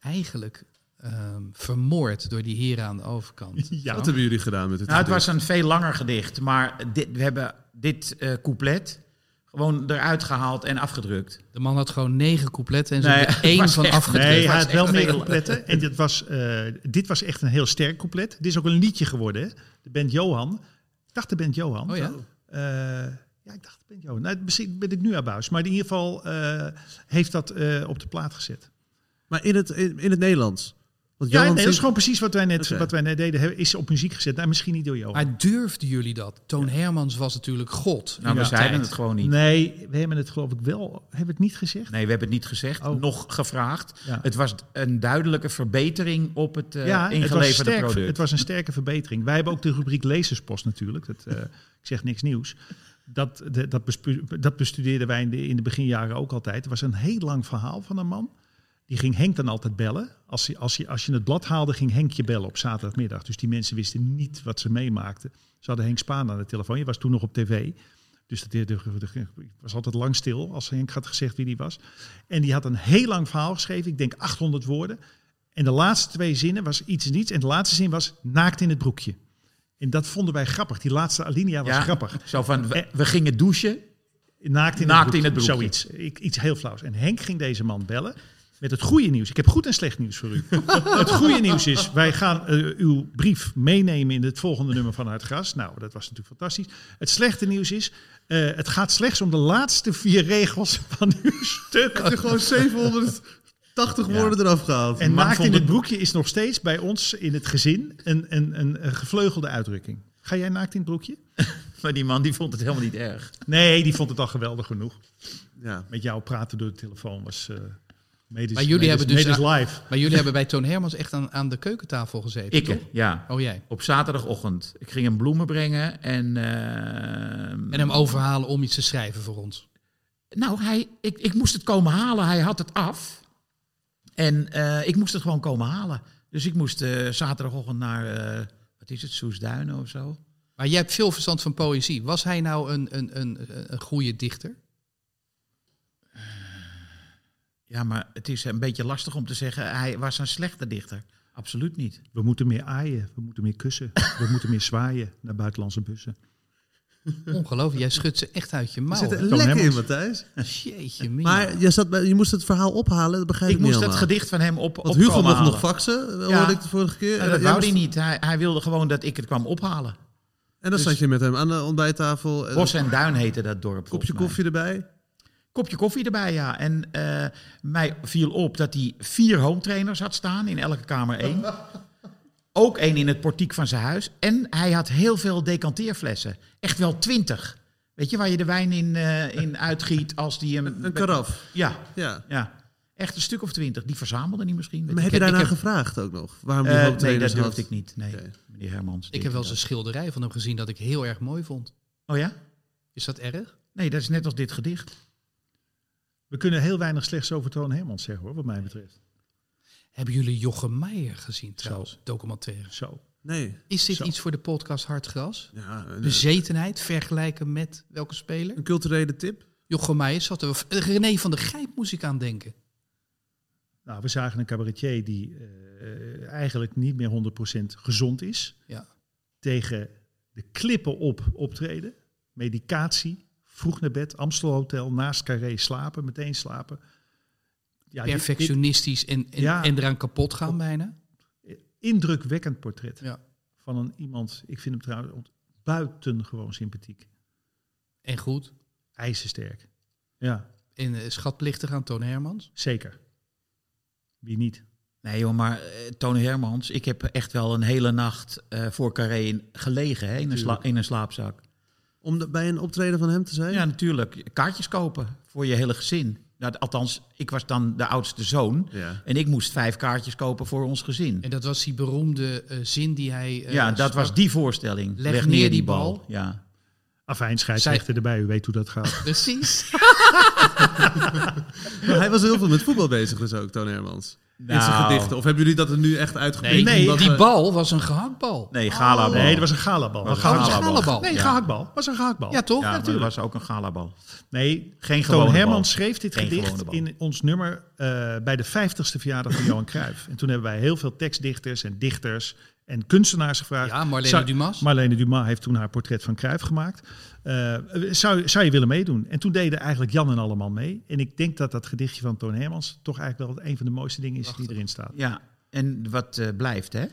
[SPEAKER 1] eigenlijk ehm, vermoord door die heren aan de overkant.
[SPEAKER 3] Ja.
[SPEAKER 5] Wat hebben jullie gedaan met het
[SPEAKER 2] Nou, het
[SPEAKER 5] gedicht?
[SPEAKER 2] was een veel langer gedicht, maar dit, we hebben dit eh, couplet gewoon eruit gehaald en afgedrukt.
[SPEAKER 1] De man had gewoon negen coupletten en ze
[SPEAKER 2] Nee,
[SPEAKER 1] hebben er één
[SPEAKER 2] was
[SPEAKER 1] van
[SPEAKER 2] echt-
[SPEAKER 1] afgedrukt.
[SPEAKER 3] Nee, hij
[SPEAKER 2] was
[SPEAKER 3] had wel
[SPEAKER 2] echt
[SPEAKER 3] meer
[SPEAKER 2] veel.
[SPEAKER 3] coupletten. En dit was, eh, dit was echt een heel sterk couplet. Dit is ook een liedje geworden. Hè? De band Johan. Ik dacht de band Johan.
[SPEAKER 1] Oh ja?
[SPEAKER 3] Eh, ja, ik dacht de band Johan. Nou, misschien ben ik nu abuis. Maar in ieder geval eh, heeft dat eh, op de plaat gezet.
[SPEAKER 5] Maar in het, in, in het Nederlands? Want
[SPEAKER 3] Ja,
[SPEAKER 5] Johan
[SPEAKER 3] nee, dat is
[SPEAKER 5] zingt-
[SPEAKER 3] gewoon precies wat wij net,
[SPEAKER 5] Oké.
[SPEAKER 3] wat wij net deden. hè, Is op muziek gezet. Nou, misschien niet door Johan.
[SPEAKER 1] Maar durfden jullie dat? Toon Hermans was natuurlijk god.
[SPEAKER 2] Nou, we
[SPEAKER 3] Ja.
[SPEAKER 2] zeiden het gewoon niet.
[SPEAKER 3] Nee, we hebben het geloof ik wel. Hebben we het niet gezegd?
[SPEAKER 2] Nee, we hebben het niet gezegd,
[SPEAKER 3] Oh.
[SPEAKER 2] nog gevraagd.
[SPEAKER 3] Ja.
[SPEAKER 2] Het was een duidelijke verbetering op het eh,
[SPEAKER 3] ja, het was,
[SPEAKER 2] ingeleverde
[SPEAKER 3] sterk,
[SPEAKER 2] product.
[SPEAKER 3] het was een sterke verbetering. Wij hebben ook de rubriek lezerspost natuurlijk. Dat, eh, ik zeg niks nieuws. Dat, de- dat, bespu- dat bestudeerden wij in de, in de beginjaren ook altijd. Het was een heel lang verhaal van een man. Die ging Henk dan altijd bellen. Als je, als je, als je het blad haalde, ging Henk je bellen op zaterdagmiddag. Dus die mensen wisten niet wat ze meemaakten. Ze hadden Henk Spaan aan de telefoon. Je was toen nog op tv. Dus dat de- de- de- ik was altijd lang stil als Henk had gezegd wie die was. En die had een heel lang verhaal geschreven. Ik denk 800 woorden. En de laatste twee zinnen was iets en iets. En de laatste zin was naakt in het broekje. En dat vonden wij grappig. Die laatste alinea was
[SPEAKER 2] Ja.
[SPEAKER 3] grappig.
[SPEAKER 2] Zo van, we,
[SPEAKER 3] Eh.
[SPEAKER 2] we gingen douchen.
[SPEAKER 3] Naakt in,
[SPEAKER 2] Naakt
[SPEAKER 3] het, broekje,
[SPEAKER 2] in het broekje.
[SPEAKER 3] Zoiets. Ik, iets heel flauws. En Henk ging deze man bellen met het goede nieuws. Ik heb goed en slecht nieuws voor u. het goede nieuws is, wij gaan eh, uw brief meenemen in het volgende nummer van Het Gras. Nou, dat was natuurlijk fantastisch. Het slechte nieuws is, eh, het gaat slechts om de laatste vier regels van uw stuk.
[SPEAKER 5] Heb je gewoon 780
[SPEAKER 3] Ja.
[SPEAKER 5] woorden eraf gehaald?
[SPEAKER 3] En
[SPEAKER 5] Maar
[SPEAKER 3] naakt
[SPEAKER 5] vond
[SPEAKER 3] in het
[SPEAKER 5] ik-
[SPEAKER 3] broekje is nog steeds bij ons in het gezin een, een, een, een gevleugelde uitdrukking. Ga jij naakt in het broekje?
[SPEAKER 2] Maar die man die vond het helemaal niet erg.
[SPEAKER 3] Nee, die vond het al geweldig genoeg.
[SPEAKER 5] Ja.
[SPEAKER 3] Met jou praten door de telefoon was eh medisch,
[SPEAKER 1] Maar jullie
[SPEAKER 3] medisch-
[SPEAKER 1] hebben dus-
[SPEAKER 3] medisch live.
[SPEAKER 1] Maar jullie hebben bij Toon Hermans echt aan, aan de keukentafel gezeten,
[SPEAKER 2] Ik,
[SPEAKER 1] toch?
[SPEAKER 2] ja.
[SPEAKER 1] Oh, jij.
[SPEAKER 2] Op zaterdagochtend. Ik ging hem bloemen brengen en... ehm,
[SPEAKER 1] En hem overhalen om iets te schrijven voor ons.
[SPEAKER 2] Nou, hij, ik, ik moest het komen halen. Hij had het af. En eh, ik moest het gewoon komen halen. Dus ik moest eh, zaterdagochtend naar, eh, wat is het, Soesduinen of zo.
[SPEAKER 1] Maar jij hebt veel verstand van poëzie. Was hij nou een, een, een, een goede dichter?
[SPEAKER 2] Ja, maar het is een beetje lastig om te zeggen, hij was een slechte dichter. Absoluut niet.
[SPEAKER 3] We moeten meer aaien, we moeten meer kussen, we moeten meer zwaaien naar buitenlandse bussen.
[SPEAKER 1] Ongelooflijk, jij schudt ze echt uit je
[SPEAKER 5] Er
[SPEAKER 1] mouw.
[SPEAKER 5] zit er
[SPEAKER 1] hè?
[SPEAKER 3] Toon
[SPEAKER 5] lekker in,
[SPEAKER 3] Hermans.
[SPEAKER 5] Matthijs.
[SPEAKER 1] Jeetje, mina.
[SPEAKER 5] Maar je, zat bij, je moest het verhaal ophalen, dat begrijp ik,
[SPEAKER 2] Ik moest
[SPEAKER 5] niet
[SPEAKER 2] dat
[SPEAKER 5] helemaal.
[SPEAKER 2] gedicht van hem op
[SPEAKER 5] Want
[SPEAKER 2] opkomen
[SPEAKER 5] Hugo mocht
[SPEAKER 2] halen.
[SPEAKER 5] nog faxen, eh,
[SPEAKER 2] Ja.
[SPEAKER 5] hoorde ik de vorige keer. Eh,
[SPEAKER 2] Maar dat
[SPEAKER 5] jij
[SPEAKER 2] wou hij
[SPEAKER 5] moest-
[SPEAKER 2] niet. Hij, hij wilde gewoon dat ik het kwam ophalen.
[SPEAKER 5] en dan zat je met hem aan de ontbijttafel. en
[SPEAKER 2] Dus Bos en Duin heette dat dorp. volgens
[SPEAKER 5] kopje
[SPEAKER 2] mij.
[SPEAKER 5] koffie erbij.
[SPEAKER 2] kopje koffie erbij, ja. En eh, mij viel op dat hij vier home trainers had staan in elke kamer één. Ook één in het portiek van zijn huis. En hij had heel veel decanteerflessen. Echt wel twintig. Weet je, waar je de wijn in, eh, in uitgiet als die hem...
[SPEAKER 5] Een karaf.
[SPEAKER 2] Ja,
[SPEAKER 5] Ja.
[SPEAKER 2] ja. Echt een stuk of twintig. Die verzamelde hij misschien. weet
[SPEAKER 5] Maar
[SPEAKER 2] ik.
[SPEAKER 5] heb je
[SPEAKER 1] heb- ik
[SPEAKER 5] daarna
[SPEAKER 1] heb-
[SPEAKER 5] gevraagd ook nog? Waarom die
[SPEAKER 2] Eh,
[SPEAKER 5] hoop
[SPEAKER 2] nee,
[SPEAKER 5] trainers
[SPEAKER 2] dat
[SPEAKER 5] had?
[SPEAKER 2] durfde ik niet. Nee,
[SPEAKER 5] Oké.
[SPEAKER 2] meneer Hermans.
[SPEAKER 1] ik heb wel eens een schilderij van hem gezien dat ik heel erg mooi vond.
[SPEAKER 2] Oh ja?
[SPEAKER 1] Is dat erg?
[SPEAKER 2] Nee, dat is net als dit gedicht.
[SPEAKER 3] We kunnen heel weinig slechts over Toon Hermans zeggen hoor, wat mij betreft.
[SPEAKER 1] Hebben jullie Jochem Meijer gezien trouwens? Documentaire.
[SPEAKER 3] Zo.
[SPEAKER 5] Nee.
[SPEAKER 1] Is dit
[SPEAKER 3] Zo.
[SPEAKER 1] iets voor de podcast Hard Gras?
[SPEAKER 5] Ja, een,
[SPEAKER 1] Bezetenheid vergelijken met welke speler?
[SPEAKER 5] een culturele tip.
[SPEAKER 1] Jochem Meijer zat er. of, eh, René van der Gijp moest ik aan denken.
[SPEAKER 3] Nou, we zagen een cabaretier die eh, eigenlijk niet meer 100% gezond is.
[SPEAKER 1] Ja.
[SPEAKER 3] Tegen de klippen op optreden. Medicatie, vroeg naar bed, Amstel Hotel, naast Carré slapen, meteen slapen. Ja, dit-
[SPEAKER 1] Perfectionistisch en, en,
[SPEAKER 3] Ja.
[SPEAKER 1] en eraan kapot gaan bijna.
[SPEAKER 3] dit indrukwekkend portret
[SPEAKER 1] Ja.
[SPEAKER 3] van een iemand, ik vind hem trouwens ont- buitengewoon sympathiek.
[SPEAKER 1] En goed.
[SPEAKER 3] IJzersterk. Ja,
[SPEAKER 1] En eh, schatplichtig aan Toon Hermans.
[SPEAKER 3] zeker. Wie niet?
[SPEAKER 2] Nee joh, maar eh, Tony Hermans, ik heb echt wel een hele nacht eh, voor Carré in- gelegen hè, in, een sla- in een slaapzak.
[SPEAKER 5] Om de- bij een optreden van hem te zijn?
[SPEAKER 2] Ja, natuurlijk. Kaartjes kopen voor je hele gezin. Nou, althans, ik was dan de oudste zoon
[SPEAKER 5] Ja.
[SPEAKER 2] en ik moest vijf kaartjes kopen voor ons gezin.
[SPEAKER 1] En dat was die beroemde eh, zin die hij. eh,
[SPEAKER 2] ja, dat
[SPEAKER 1] sprak.
[SPEAKER 2] was die voorstelling.
[SPEAKER 1] Leg neer die bal.
[SPEAKER 2] Ja.
[SPEAKER 3] Afijn, scheidsrechter erbij, u weet hoe dat gaat.
[SPEAKER 1] Precies.
[SPEAKER 5] Maar hij was heel veel met voetbal bezig dus ook, Toon Hermans. In zijn
[SPEAKER 2] Nou.
[SPEAKER 5] gedichten. Of hebben jullie dat er nu echt uitgepikt?
[SPEAKER 1] Nee,
[SPEAKER 3] Nee,
[SPEAKER 1] die,
[SPEAKER 5] Omdat we-
[SPEAKER 1] bal was een gehaktbal.
[SPEAKER 2] Nee, galabal.
[SPEAKER 3] Nee, dat was een galabal.
[SPEAKER 2] Was een
[SPEAKER 3] Een
[SPEAKER 1] Oh, dat was een
[SPEAKER 2] galabal.
[SPEAKER 1] galabal.
[SPEAKER 3] Nee,
[SPEAKER 2] Ja.
[SPEAKER 3] gehaktbal. Was een gehaktbal.
[SPEAKER 1] Ja, toch?
[SPEAKER 2] ja,
[SPEAKER 1] Ja,
[SPEAKER 2] natuurlijk. was ook een galabal.
[SPEAKER 3] Nee,
[SPEAKER 2] Geen gewone
[SPEAKER 3] Toon
[SPEAKER 2] bal.
[SPEAKER 3] Hermans schreef dit
[SPEAKER 2] Geen gewone
[SPEAKER 3] gedicht
[SPEAKER 2] bal.
[SPEAKER 3] in ons nummer eh, bij de 50ste verjaardag van Johan Cruijff. En toen hebben wij heel veel tekstdichters en dichters en kunstenaars gevraagd.
[SPEAKER 1] Marlene
[SPEAKER 3] Zou-
[SPEAKER 1] Dumas.
[SPEAKER 3] Marlene Dumas heeft toen haar portret van Cruijff gemaakt. Eh, zou, zou je willen meedoen? En toen deden eigenlijk Jan en Alleman mee. En ik denk dat dat gedichtje van Toon Hermans toch eigenlijk wel een van de mooiste dingen is die erin staat.
[SPEAKER 2] Ja, en wat eh, blijft hè?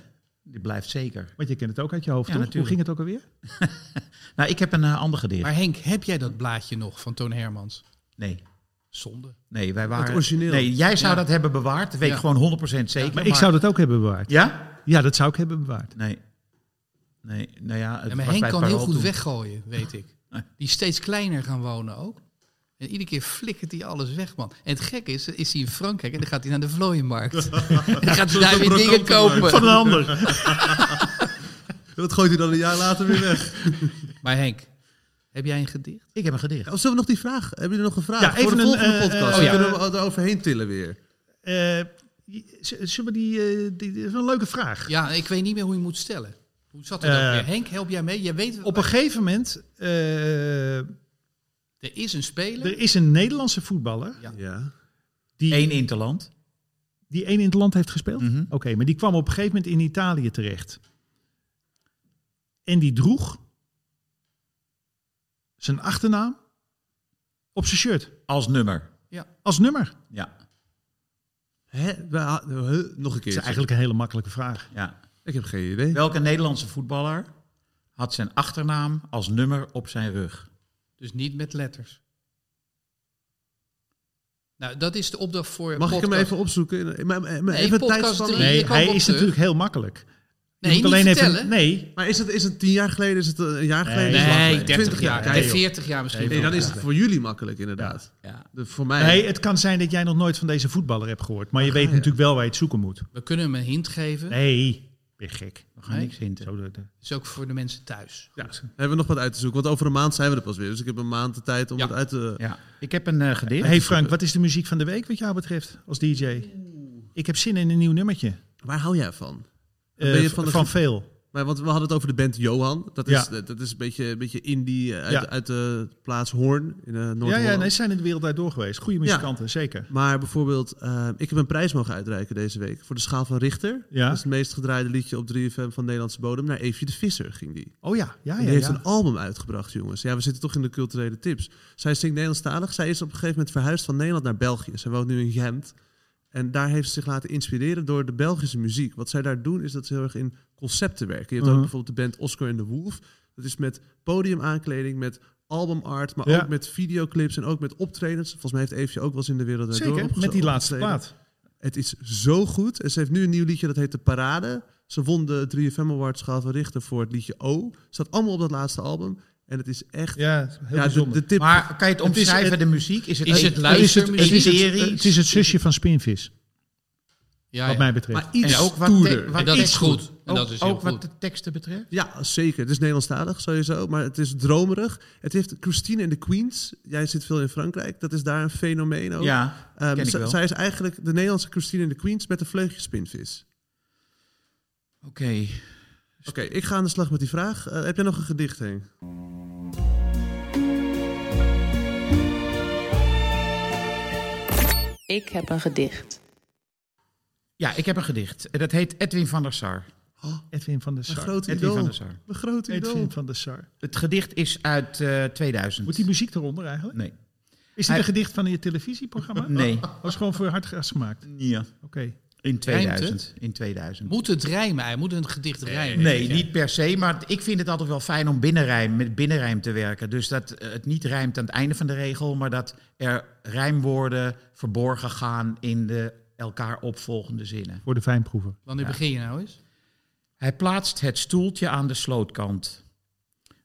[SPEAKER 2] Die blijft zeker.
[SPEAKER 3] Want je kent het ook uit je hoofd,
[SPEAKER 2] Ja,
[SPEAKER 3] toch?
[SPEAKER 2] natuurlijk.
[SPEAKER 3] Hoe ging het ook alweer?
[SPEAKER 2] Nou, ik heb een eh, ander gedicht.
[SPEAKER 1] Maar Henk, heb jij dat blaadje nog van Toon Hermans?
[SPEAKER 2] Nee.
[SPEAKER 1] Zonde.
[SPEAKER 2] Nee, wij waren...
[SPEAKER 5] Het origineel.
[SPEAKER 2] Nee, jij zou
[SPEAKER 1] Ja.
[SPEAKER 2] dat hebben bewaard. Dat weet
[SPEAKER 1] Ja.
[SPEAKER 2] ik gewoon 100% zeker.
[SPEAKER 3] maar ik zou dat ook hebben bewaard.
[SPEAKER 2] Ja?
[SPEAKER 3] Ja, dat zou ik hebben bewaard.
[SPEAKER 2] Nee. Nee, nou ja... Het
[SPEAKER 1] Ja, maar
[SPEAKER 2] was
[SPEAKER 1] Henk
[SPEAKER 2] bij
[SPEAKER 1] kan heel
[SPEAKER 2] Parool
[SPEAKER 1] goed
[SPEAKER 2] toen.
[SPEAKER 1] weggooien, weet ik. Die is steeds kleiner gaan wonen ook. En iedere keer flikkert hij alles weg, man. En het gekke is, is hij in Frankrijk en dan gaat hij naar de vlooienmarkt. dan gaat hij daar weer dingen
[SPEAKER 3] Van
[SPEAKER 1] kopen.
[SPEAKER 3] een ander.
[SPEAKER 5] Dat gooit hij dan een jaar later weer weg.
[SPEAKER 1] Maar Henk, heb jij een gedicht?
[SPEAKER 2] Ik heb een gedicht.
[SPEAKER 5] Of zullen we nog die vraag? Hebben jullie nog een vraag?
[SPEAKER 3] Ja,
[SPEAKER 5] Ah,
[SPEAKER 3] even
[SPEAKER 5] Voor de
[SPEAKER 3] een,
[SPEAKER 5] volgende
[SPEAKER 3] eh,
[SPEAKER 5] podcast.
[SPEAKER 3] oh ja.
[SPEAKER 5] Kunnen we eroverheen tillen weer?
[SPEAKER 3] Eh, z- zullen we die, eh, die, die- dat is een leuke vraag.
[SPEAKER 1] Ja, ik weet niet meer hoe je moet stellen. Hoe zat het ook
[SPEAKER 3] Eh,
[SPEAKER 1] weer? Henk, help jij mee? Jij weet,
[SPEAKER 3] Op een gegeven moment, eh,
[SPEAKER 1] er is een speler.
[SPEAKER 3] er is een Nederlandse voetballer
[SPEAKER 5] Ja.
[SPEAKER 3] die,
[SPEAKER 2] Eén Interland.
[SPEAKER 3] die één in het land heeft gespeeld.
[SPEAKER 2] Mhm.
[SPEAKER 3] Oké, maar die kwam op een gegeven moment in Italië terecht. En die droeg zijn achternaam op zijn shirt
[SPEAKER 2] Als nummer.
[SPEAKER 3] als nummer.
[SPEAKER 2] Ja,
[SPEAKER 5] Hè? We ha- huh? Nog een
[SPEAKER 3] Dat
[SPEAKER 5] keer.
[SPEAKER 3] is eigenlijk een hele makkelijke vraag.
[SPEAKER 2] ja.
[SPEAKER 5] Ik heb geen idee.
[SPEAKER 2] Welke Nederlandse voetballer had zijn achternaam als nummer op zijn rug?
[SPEAKER 1] Dus niet met letters. Nou, dat is de opdracht voor
[SPEAKER 5] Mag ik hem
[SPEAKER 1] podcast.
[SPEAKER 5] even opzoeken? In- in- in- in-
[SPEAKER 1] Nee,
[SPEAKER 5] even
[SPEAKER 1] podcast
[SPEAKER 5] tijdspanne?
[SPEAKER 1] drie.
[SPEAKER 3] Nee,
[SPEAKER 1] je kwam
[SPEAKER 3] hij
[SPEAKER 1] op
[SPEAKER 3] is
[SPEAKER 1] terug.
[SPEAKER 3] natuurlijk heel makkelijk. Je
[SPEAKER 1] Nee,
[SPEAKER 3] moet
[SPEAKER 1] niet
[SPEAKER 3] alleen even,
[SPEAKER 1] vertellen.
[SPEAKER 3] nee,
[SPEAKER 5] Maar is het, is het tien jaar geleden? Is het eh, een jaar geleden?
[SPEAKER 3] Nee,
[SPEAKER 5] Is het lang
[SPEAKER 1] Nee,
[SPEAKER 5] geleden?
[SPEAKER 1] 30
[SPEAKER 5] 20
[SPEAKER 1] jaar.
[SPEAKER 5] jaar.
[SPEAKER 1] Nee,
[SPEAKER 5] joh.
[SPEAKER 1] 40 jaar misschien.
[SPEAKER 5] Nee, dan is het voor jullie makkelijk inderdaad.
[SPEAKER 1] Ja.
[SPEAKER 5] De- voor mij.
[SPEAKER 3] nee, het kan zijn dat jij nog nooit van deze voetballer hebt gehoord. Maar je weet
[SPEAKER 5] je?
[SPEAKER 3] natuurlijk wel waar je het zoeken moet.
[SPEAKER 1] We kunnen hem een hint geven.
[SPEAKER 3] Nee, ben je gek.
[SPEAKER 2] We gaan
[SPEAKER 1] Nee.
[SPEAKER 2] niks hinten.
[SPEAKER 3] Zo de, de-
[SPEAKER 1] Dat is ook voor de mensen thuis.
[SPEAKER 5] Ja, dan hebben we nog wat uit te zoeken. Want over een maand zijn we er pas weer. Dus ik heb een maand de tijd om
[SPEAKER 1] Ja.
[SPEAKER 5] het uit te...
[SPEAKER 2] Ja. Ik heb een eh, gedicht.
[SPEAKER 3] Hey Frank, wat is de muziek van de week wat jou betreft als DJ? Ik heb zin in een nieuw nummertje.
[SPEAKER 5] Waar hou jij van?
[SPEAKER 3] Eh,
[SPEAKER 5] ben je
[SPEAKER 3] v-
[SPEAKER 5] van
[SPEAKER 3] van
[SPEAKER 5] de ge-
[SPEAKER 3] veel.
[SPEAKER 5] Maar, want we hadden het over de band Johan. Dat is,
[SPEAKER 3] Ja.
[SPEAKER 5] dat is een beetje, een beetje indie eh, uit,
[SPEAKER 3] Ja.
[SPEAKER 5] uit de plaats Hoorn in eh noord
[SPEAKER 3] Ja, ja, nee, ze zijn in de wereld door geweest. Goede muzikanten, zeker.
[SPEAKER 5] Maar bijvoorbeeld, eh, ik heb een prijs mogen uitreiken deze week voor de Schaal van Richter.
[SPEAKER 3] Ja.
[SPEAKER 5] Dat is het meest gedraaide liedje op 3FM van Nederlandse bodem. Naar Eefje de Visser ging die.
[SPEAKER 3] Oh ja, ja,
[SPEAKER 5] En
[SPEAKER 3] ja.
[SPEAKER 5] die heeft
[SPEAKER 3] ja.
[SPEAKER 5] een album uitgebracht, jongens. Ja, we zitten toch in de culturele tips. Zij zingt Nederlandstalig. Zij is op een gegeven moment verhuisd van Nederland naar België. Zij woont nu in Gent. En daar heeft ze zich laten inspireren door de Belgische muziek. Wat zij daar doen, is dat ze heel erg in concepten werken. Je hebt
[SPEAKER 3] Mhm.
[SPEAKER 5] ook bijvoorbeeld de band Oscar en de Wolf. Dat is met podiumaankleding, met albumart, maar
[SPEAKER 3] Ja.
[SPEAKER 5] ook met videoclips en ook met optredens. Volgens mij heeft Eefje ook wel eens in de wereld Draait Door
[SPEAKER 3] Zeker,
[SPEAKER 5] opgezo-
[SPEAKER 3] met die laatste
[SPEAKER 5] opgetreden.
[SPEAKER 3] plaat.
[SPEAKER 5] Het is zo goed. En ze heeft nu een nieuw liedje, dat heet De Parade. Ze won de 3FM Awards Schaal van Richter voor het liedje O. Staat allemaal op dat laatste album. En het is echt...
[SPEAKER 3] Ja, heel
[SPEAKER 5] Ja, de,
[SPEAKER 3] bijzonder.
[SPEAKER 5] de tip...
[SPEAKER 2] Maar kan je het
[SPEAKER 3] Het is-
[SPEAKER 2] omschrijven,
[SPEAKER 3] het-
[SPEAKER 2] de muziek? Is het,
[SPEAKER 1] Is het
[SPEAKER 2] het is het,
[SPEAKER 1] luistermuziek? Ah,
[SPEAKER 2] een serie?
[SPEAKER 3] het is het zusje van Spinvis,
[SPEAKER 1] Ja,
[SPEAKER 3] wat
[SPEAKER 1] ja.
[SPEAKER 3] mij betreft.
[SPEAKER 5] maar iets
[SPEAKER 1] En ook
[SPEAKER 2] wat
[SPEAKER 5] stoerder.
[SPEAKER 2] te-
[SPEAKER 1] En
[SPEAKER 2] wat
[SPEAKER 1] dat
[SPEAKER 2] iets
[SPEAKER 1] is goed. En
[SPEAKER 2] Ook,
[SPEAKER 1] dat is heel
[SPEAKER 2] ook wat
[SPEAKER 1] goed.
[SPEAKER 2] de teksten betreft?
[SPEAKER 5] Ja, zeker. Het is Nederlandstalig sowieso, maar het is dromerig. Het heeft Christine en de Queens. Jij zit veel in Frankrijk. Dat is daar een fenomeen ook.
[SPEAKER 2] Ja,
[SPEAKER 5] Ehm,
[SPEAKER 2] ken ik
[SPEAKER 5] z-
[SPEAKER 2] wel.
[SPEAKER 5] Zij is eigenlijk de Nederlandse Christine en de Queens met een vleugje spinvis.
[SPEAKER 2] oké.
[SPEAKER 5] Oké, ik ga aan de slag met die vraag. Eh, heb jij nog een gedicht heen?
[SPEAKER 6] Ik heb een gedicht.
[SPEAKER 2] Ja, ik heb een gedicht. Dat heet Edwin van der Sar.
[SPEAKER 3] Edwin van der
[SPEAKER 5] Mijn
[SPEAKER 3] Sar.
[SPEAKER 5] grote
[SPEAKER 2] Edwin van
[SPEAKER 5] idool.
[SPEAKER 2] der Sar.
[SPEAKER 5] Mijn grote idool.
[SPEAKER 3] Edwin van der Sar.
[SPEAKER 2] Het gedicht is uit eh, 2000.
[SPEAKER 3] Moet die muziek eronder eigenlijk?
[SPEAKER 2] Nee.
[SPEAKER 3] Is dit
[SPEAKER 2] Hij-
[SPEAKER 3] een gedicht van je
[SPEAKER 1] Oh.
[SPEAKER 3] televisieprogramma?
[SPEAKER 2] Nee.
[SPEAKER 3] Dat is gewoon voor hartgras gemaakt.
[SPEAKER 2] Ja.
[SPEAKER 3] Oké.
[SPEAKER 2] In
[SPEAKER 1] Rijmt
[SPEAKER 2] 2000. In 2000.
[SPEAKER 1] Moet het rijmen? Hij moet een gedicht rijmen.
[SPEAKER 2] Nee,
[SPEAKER 1] Ja.
[SPEAKER 2] niet per se, maar ik vind het altijd wel fijn om binnenrijm, met binnenrijm te werken. Dus dat eh, het niet rijmt aan het einde van de regel, maar dat er rijmwoorden verborgen gaan in de elkaar opvolgende zinnen.
[SPEAKER 3] Voor de fijnproever.
[SPEAKER 1] Wanneer begin je nou eens?
[SPEAKER 2] Hij plaatst het stoeltje aan de slootkant.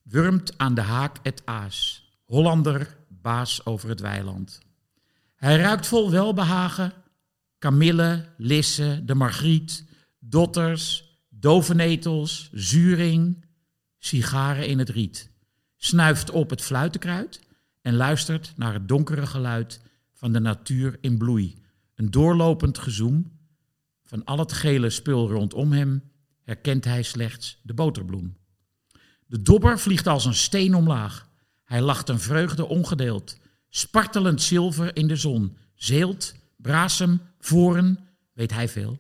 [SPEAKER 2] Wurmt aan de haak het aas. Hollander, baas over het weiland. Hij ruikt vol welbehagen. Kamille, Lisse, de margriet, dotters, dovenetels, zuring, sigaren in het riet. Snuift op het fluitenkruid en luistert naar het donkere geluid van de natuur in bloei. Een doorlopend gezoem van al het gele spul rondom hem herkent hij slechts de boterbloem. De dobber vliegt als een steen omlaag. Hij lacht een vreugde ongedeeld. Spartelend zilver in de zon. Zeelt, brasem, voren, weet hij veel.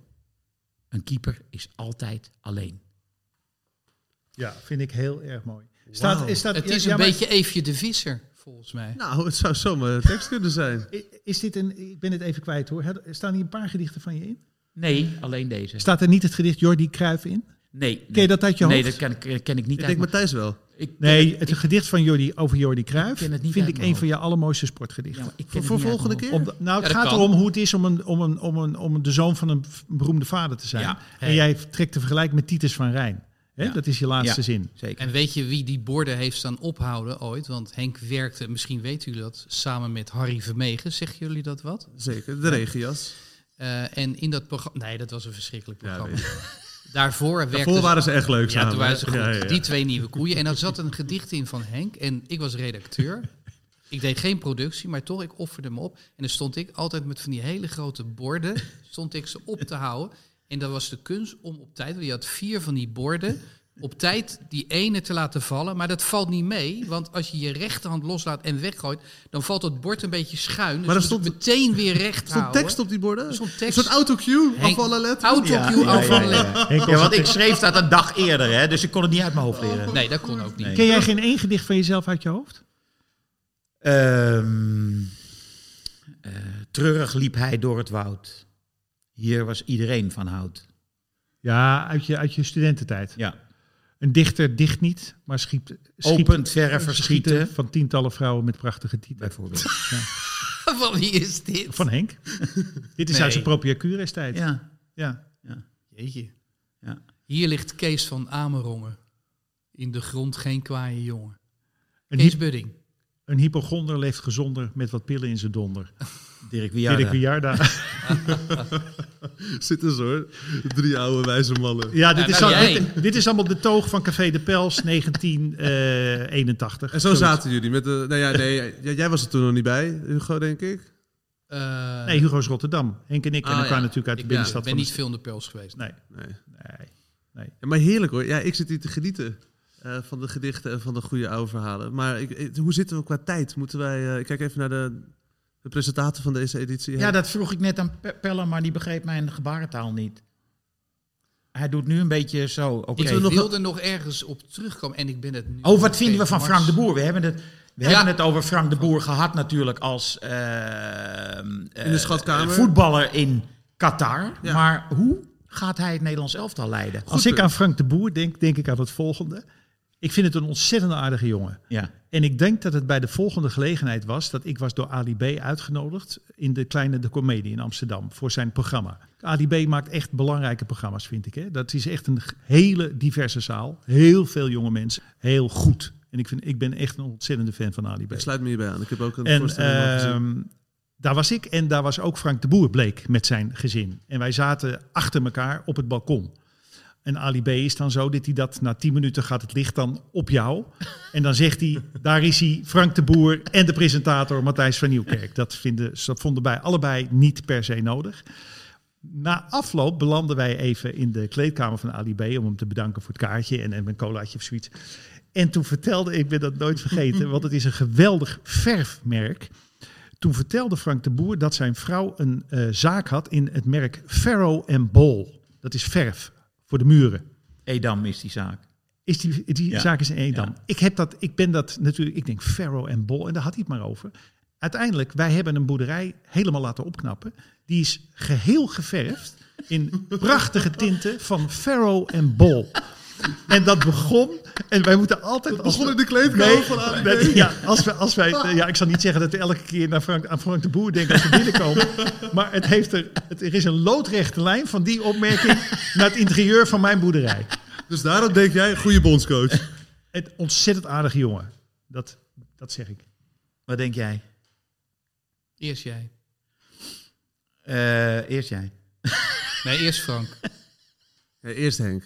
[SPEAKER 2] Een keeper is altijd alleen.
[SPEAKER 3] Ja, vind ik heel erg mooi. Staat, is, dat,
[SPEAKER 1] Het is
[SPEAKER 3] ja,
[SPEAKER 1] een
[SPEAKER 3] maar
[SPEAKER 1] beetje Eefje de Visser, volgens mij.
[SPEAKER 5] Nou, het zou zomaar een tekst kunnen zijn.
[SPEAKER 3] Is dit een, ik ben het even kwijt hoor. Had- Staan hier een paar gedichten van je in?
[SPEAKER 2] Nee, alleen deze.
[SPEAKER 3] Staat er niet het gedicht Jordi Cruijff in?
[SPEAKER 2] Nee, nee.
[SPEAKER 3] Ken je dat uit je hoofd?
[SPEAKER 2] Nee, dat ken, ik- ken ik niet
[SPEAKER 5] Ik
[SPEAKER 2] uit
[SPEAKER 5] denk Matthijs wel.
[SPEAKER 2] mijn- ik ken
[SPEAKER 3] Nee,
[SPEAKER 2] het-
[SPEAKER 3] het
[SPEAKER 2] ik-
[SPEAKER 3] gedicht van Jordi, over Jordi Cruijff
[SPEAKER 2] ken het niet
[SPEAKER 3] vind
[SPEAKER 2] uit
[SPEAKER 3] ik
[SPEAKER 2] mijn
[SPEAKER 3] een van je allermooiste sportgedichten.
[SPEAKER 2] ja, maar ik ken
[SPEAKER 5] Voor,
[SPEAKER 2] het
[SPEAKER 5] voor
[SPEAKER 2] niet uit
[SPEAKER 5] volgende
[SPEAKER 2] mijn
[SPEAKER 5] keer?
[SPEAKER 3] Om de- nou, het
[SPEAKER 1] Ja, dat
[SPEAKER 3] gaat
[SPEAKER 1] kan.
[SPEAKER 3] erom hoe het is om, een, om, een, om, een, om een, de zoon van een v- beroemde vader te zijn.
[SPEAKER 2] Ja,
[SPEAKER 3] en
[SPEAKER 2] hè.
[SPEAKER 3] jij trekt de vergelijking met Titus van Rijn. Hè?
[SPEAKER 2] Ja.
[SPEAKER 3] Dat is je laatste
[SPEAKER 2] Ja.
[SPEAKER 3] zin.
[SPEAKER 2] hoofd. Zeker.
[SPEAKER 1] En weet je wie die borden heeft staan ophouden ooit? Want Henk werkte, misschien weten jullie dat, samen met Harry Vermegen. Zeggen jullie dat wat?
[SPEAKER 5] Zeker, de regenjas.
[SPEAKER 1] Eh, en in dat programma... Nee, dat was een verschrikkelijk programma. Daarvoor werkte...
[SPEAKER 5] Daarvoor waren ze echt leuk
[SPEAKER 1] Ja,
[SPEAKER 5] samen.
[SPEAKER 1] toen waren ze goed.
[SPEAKER 5] Ja, ja, ja.
[SPEAKER 1] Die twee nieuwe koeien. En daar zat een gedicht in van Henk. En ik was redacteur. Ik deed geen productie, maar toch, ik offerde me op. En dan stond ik altijd met van die hele grote borden, stond ik ze op te houden. En dat was de kunst om op tijd, want je had vier van die borden, op tijd die ene te laten vallen. Maar dat valt niet mee, want als je je rechterhand loslaat en weggooit, dan valt dat bord een beetje schuin. Dus
[SPEAKER 5] Maar
[SPEAKER 1] maar
[SPEAKER 5] er
[SPEAKER 1] stond
[SPEAKER 5] stond-
[SPEAKER 1] meteen weer recht
[SPEAKER 5] Er stond
[SPEAKER 1] houden.
[SPEAKER 5] tekst op die borden.
[SPEAKER 1] Er stond
[SPEAKER 5] Een
[SPEAKER 1] tekst.
[SPEAKER 5] soort autocue
[SPEAKER 1] Henk-
[SPEAKER 5] af alle letters.
[SPEAKER 1] Autocue
[SPEAKER 2] Ja, ja,
[SPEAKER 1] overal.
[SPEAKER 2] ja, ja.
[SPEAKER 3] Henk
[SPEAKER 2] Ja, want ik schreef dat een dag eerder, hè, dus ik kon het niet uit mijn hoofd leren.
[SPEAKER 1] Nee, dat kon ook niet.
[SPEAKER 3] Ken jij geen één gedicht van jezelf uit je hoofd?
[SPEAKER 2] Ehm, eh, treurig liep hij door het woud. Hier was iedereen van hout.
[SPEAKER 3] Ja, uit je, uit je studententijd.
[SPEAKER 2] Ja.
[SPEAKER 3] Een dichter dicht niet, maar schiet, schiet
[SPEAKER 2] Opent verre verschieten.
[SPEAKER 3] van tientallen vrouwen met prachtige titels.
[SPEAKER 2] Bijvoorbeeld.
[SPEAKER 1] Van wie is dit?
[SPEAKER 3] Van Henk. Dit is
[SPEAKER 1] Nee.
[SPEAKER 3] uit zijn propia cures tijd. Ja.
[SPEAKER 2] Ja.
[SPEAKER 3] Ja.
[SPEAKER 1] Jeetje.
[SPEAKER 2] ja.
[SPEAKER 1] Hier ligt Kees van Amerongen. In de grond geen kwaaie jongen.
[SPEAKER 3] Een,
[SPEAKER 1] Kees
[SPEAKER 3] hy-
[SPEAKER 1] Budding.
[SPEAKER 3] een hypochonder leeft gezonder met wat pillen in zijn donder.
[SPEAKER 2] Dirk Wiarda.
[SPEAKER 3] Dirk Wiarda.
[SPEAKER 5] Zitten ze hoor. Drie oude wijze mannen.
[SPEAKER 3] Ja, dit,
[SPEAKER 1] Ja,
[SPEAKER 3] is
[SPEAKER 1] nou,
[SPEAKER 3] al-
[SPEAKER 1] jij.
[SPEAKER 3] dit, dit is allemaal de toog van Café de Pels eh, 1981.
[SPEAKER 5] En zo zaten jullie met de. Nou ja, nee, jij, jij was er toen nog niet bij, Hugo, denk ik.
[SPEAKER 1] Eh,
[SPEAKER 3] Nee, Hugo's Rotterdam. Henk en ik
[SPEAKER 5] Ah,
[SPEAKER 3] kennen elkaar
[SPEAKER 5] ja.
[SPEAKER 3] natuurlijk
[SPEAKER 1] ik
[SPEAKER 3] uit de
[SPEAKER 1] ben,
[SPEAKER 3] binnenstad.
[SPEAKER 1] ben
[SPEAKER 3] van
[SPEAKER 1] niet veel in de pels geweest.
[SPEAKER 3] de... Nee,
[SPEAKER 5] Nee.
[SPEAKER 3] nee.
[SPEAKER 5] Ja, maar heerlijk hoor. Ja, ik zit hier te genieten eh, van de gedichten en van de goede oude verhalen. Maar ik, ik- hoe zitten we qua tijd? Moeten wij. eh, ik kijk even naar de, de presentator van deze editie.
[SPEAKER 2] Ja, dat vroeg ik net aan Pe- Pelle, maar die begreep mijn gebarentaal niet. Hij doet nu een beetje zo. Oké.
[SPEAKER 1] Ik
[SPEAKER 5] Moeten we nog-
[SPEAKER 1] wilde nog ergens op terugkomen en ik ben het nu.
[SPEAKER 2] Oh, wat vinden we van
[SPEAKER 1] Mars.
[SPEAKER 2] Frank de Boer? We hebben het, we
[SPEAKER 1] Ja.
[SPEAKER 2] hebben het over Frank de Boer gehad natuurlijk als eh, eh,
[SPEAKER 5] schatkamer.
[SPEAKER 2] voetballer in Qatar.
[SPEAKER 5] Ja.
[SPEAKER 2] Maar hoe gaat hij het Nederlands elftal leiden?
[SPEAKER 3] Als ik aan Frank de Boer denk, denk ik aan het volgende. Ik vind het een ontzettend aardige jongen.
[SPEAKER 2] Ja.
[SPEAKER 3] En ik denk dat het bij de volgende gelegenheid was dat ik was door Ali B. uitgenodigd in de kleine de Comedie in Amsterdam voor zijn programma. Ali B. maakt echt belangrijke programma's, vind ik. Hè? Dat is echt een g- hele diverse zaal. Heel veel jonge mensen. Heel goed. En ik, vind, ik ben echt een ontzettende fan van Ali B.
[SPEAKER 5] Ik sluit me hierbij aan. Ik heb ook een
[SPEAKER 3] En
[SPEAKER 5] voorstelling al gezien.
[SPEAKER 3] ehm, daar was ik en daar was ook Frank de Boer bleek met zijn gezin. En wij zaten achter elkaar op het balkon. En Ali B is dan zo dat hij dat na 10 minuten gaat het licht dan op jou. En dan zegt hij, daar is hij, Frank de Boer en de presentator Matthijs van Nieuwkerk. Dat, vinden, dat vonden wij allebei niet per se nodig. Na afloop belanden wij even in de kleedkamer van Ali B. om hem te bedanken voor het kaartje en, en een colaatje of zoiets. En toen vertelde, ik ben dat nooit vergeten, want het is een geweldig verfmerk. Toen vertelde Frank de Boer dat zijn vrouw een eh, zaak had in het merk Farrow and Ball. Dat is verf voor de muren.
[SPEAKER 2] Edam is die zaak.
[SPEAKER 3] Is die, die
[SPEAKER 2] Ja,
[SPEAKER 3] zaak is in Edam.
[SPEAKER 2] ja.
[SPEAKER 3] Ik, heb dat, ik ben dat natuurlijk, ik denk Ferro en Bol, en daar had hij het maar over. Uiteindelijk, wij hebben een boerderij helemaal laten opknappen. Die is geheel geverfd in prachtige tinten van Ferro en Bol. En dat begon, en wij moeten altijd... als we-
[SPEAKER 5] Begon in de kleedkamer
[SPEAKER 3] Nee,
[SPEAKER 5] van Ali B.
[SPEAKER 3] nee, ja, als wij, als wij, eh, ja, ik zal niet zeggen dat we elke keer naar Frank, aan Frank de Boer denken als we binnenkomen. Maar het heeft er, het, er is een loodrechte lijn van die opmerking naar het interieur van mijn boerderij.
[SPEAKER 5] Dus daarom denk jij, goede bondscoach.
[SPEAKER 3] Een ontzettend aardige jongen. Dat, dat zeg ik.
[SPEAKER 2] Wat denk jij?
[SPEAKER 1] Eerst jij.
[SPEAKER 2] Eh, eerst jij.
[SPEAKER 1] Nee, eerst Frank.
[SPEAKER 5] Ja, eerst Henk.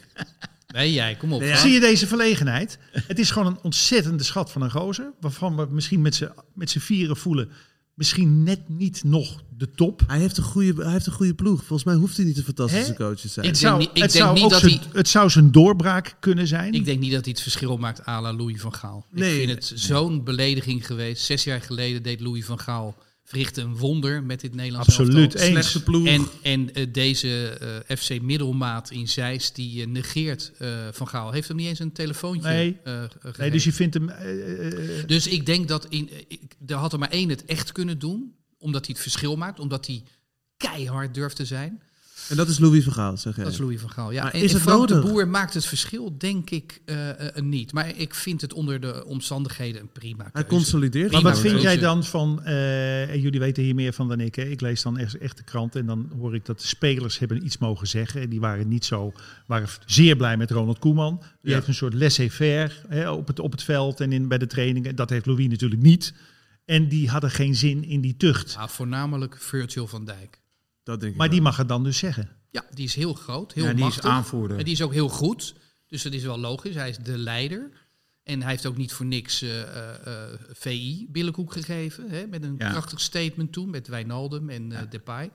[SPEAKER 1] Nee, jij. Kom op. Frank.
[SPEAKER 3] Zie je deze verlegenheid? Het is gewoon een ontzettende schat van een gozer. Waarvan we misschien met z'n- met z'n vieren voelen. Misschien net niet nog de top.
[SPEAKER 5] Hij heeft, een goede, hij heeft een goede ploeg. Volgens mij hoeft hij niet een fantastische
[SPEAKER 3] Hè?
[SPEAKER 5] coach te zijn.
[SPEAKER 1] Ik
[SPEAKER 3] Het zou,
[SPEAKER 1] niet- ik
[SPEAKER 3] het
[SPEAKER 1] denk
[SPEAKER 3] zou
[SPEAKER 1] niet
[SPEAKER 3] ook
[SPEAKER 1] dat
[SPEAKER 3] zijn-
[SPEAKER 1] hij-
[SPEAKER 3] het zou zijn doorbraak kunnen zijn.
[SPEAKER 1] Ik denk niet dat hij het verschil maakt à la Louis van Gaal.
[SPEAKER 5] Nee.
[SPEAKER 1] Ik vind het zo'n belediging geweest. Zes jaar geleden deed Louis van Gaal verrichtte een wonder met dit Nederlands
[SPEAKER 3] Absoluut
[SPEAKER 1] elftal.
[SPEAKER 3] eens.
[SPEAKER 5] Slechte ploeg.
[SPEAKER 1] En, en eh, deze eh, FC middelmaat in Zeist, die eh, negeert eh, Van Gaal. Heeft hem niet eens een telefoontje
[SPEAKER 3] Nee.
[SPEAKER 1] eh, eh,
[SPEAKER 3] Nee,
[SPEAKER 1] gegeven.
[SPEAKER 3] dus je vindt hem. eh, eh,
[SPEAKER 1] Dus ik denk dat in, eh, ik, er had er maar één het echt kunnen doen. Omdat hij het verschil maakt. Omdat hij keihard durft te zijn.
[SPEAKER 5] En dat is Louis Vergaal, zeg jij.
[SPEAKER 1] Dat is Louis van Gaal. Ja.
[SPEAKER 5] Maar
[SPEAKER 1] En,
[SPEAKER 5] is
[SPEAKER 1] en
[SPEAKER 5] het
[SPEAKER 1] Frank de
[SPEAKER 5] nodig?
[SPEAKER 1] Boer maakt het verschil, denk ik, eh, eh, niet. Maar ik vind het onder de omstandigheden een prima
[SPEAKER 5] Hij
[SPEAKER 1] keuze.
[SPEAKER 5] consolideert.
[SPEAKER 3] maar
[SPEAKER 1] prima
[SPEAKER 3] wat vind
[SPEAKER 1] keuze.
[SPEAKER 3] jij dan van. eh, en jullie weten hier meer van dan ik. Hè? Ik lees dan echt, echt de krant en dan hoor ik dat de spelers hebben iets mogen zeggen. En die waren niet zo. waren zeer blij met Ronald Koeman. Die
[SPEAKER 5] Ja.
[SPEAKER 3] heeft een soort laissez-faire hè, op het, op het veld en in, bij de trainingen. Dat heeft Louis natuurlijk niet. En die hadden geen zin in die
[SPEAKER 5] Ah,
[SPEAKER 3] tucht.
[SPEAKER 1] Ja, voornamelijk Virgil van Dijk.
[SPEAKER 5] Dat denk ik
[SPEAKER 3] Maar
[SPEAKER 5] wel.
[SPEAKER 3] die mag het dan dus zeggen.
[SPEAKER 1] Ja, die is heel groot, heel
[SPEAKER 2] Ja, die
[SPEAKER 1] machtig.
[SPEAKER 2] is aanvoerder.
[SPEAKER 1] En die is ook heel goed. Dus dat is wel logisch. Hij is de leider. En hij heeft ook niet voor niks eh, eh, eh, VI billenkoek gegeven. Hè, met een
[SPEAKER 2] Ja.
[SPEAKER 1] prachtig statement toen met Wijnaldum en eh, Depay.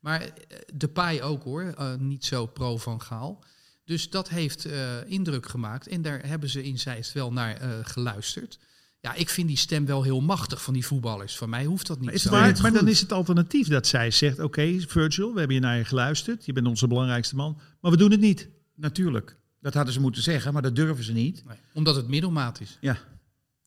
[SPEAKER 1] Maar eh, Depay ook hoor. eh, niet zo pro van Gaal. Dus dat heeft eh, indruk gemaakt. En daar hebben ze in Zeist wel naar eh, geluisterd. Ja, ik vind die stem wel heel machtig van die voetballers. Van mij hoeft dat niet
[SPEAKER 5] is
[SPEAKER 1] zo.
[SPEAKER 5] het
[SPEAKER 3] Maar,
[SPEAKER 5] niet
[SPEAKER 3] maar dan
[SPEAKER 5] goed.
[SPEAKER 3] is het alternatief dat zij zegt: Oké, Virgil, we hebben je naar je geluisterd. Je bent onze belangrijkste man. Maar we doen het niet.
[SPEAKER 2] Natuurlijk. Dat hadden ze moeten zeggen, maar dat durven ze niet.
[SPEAKER 1] Nee, Omdat het middelmaat is.
[SPEAKER 2] Ja.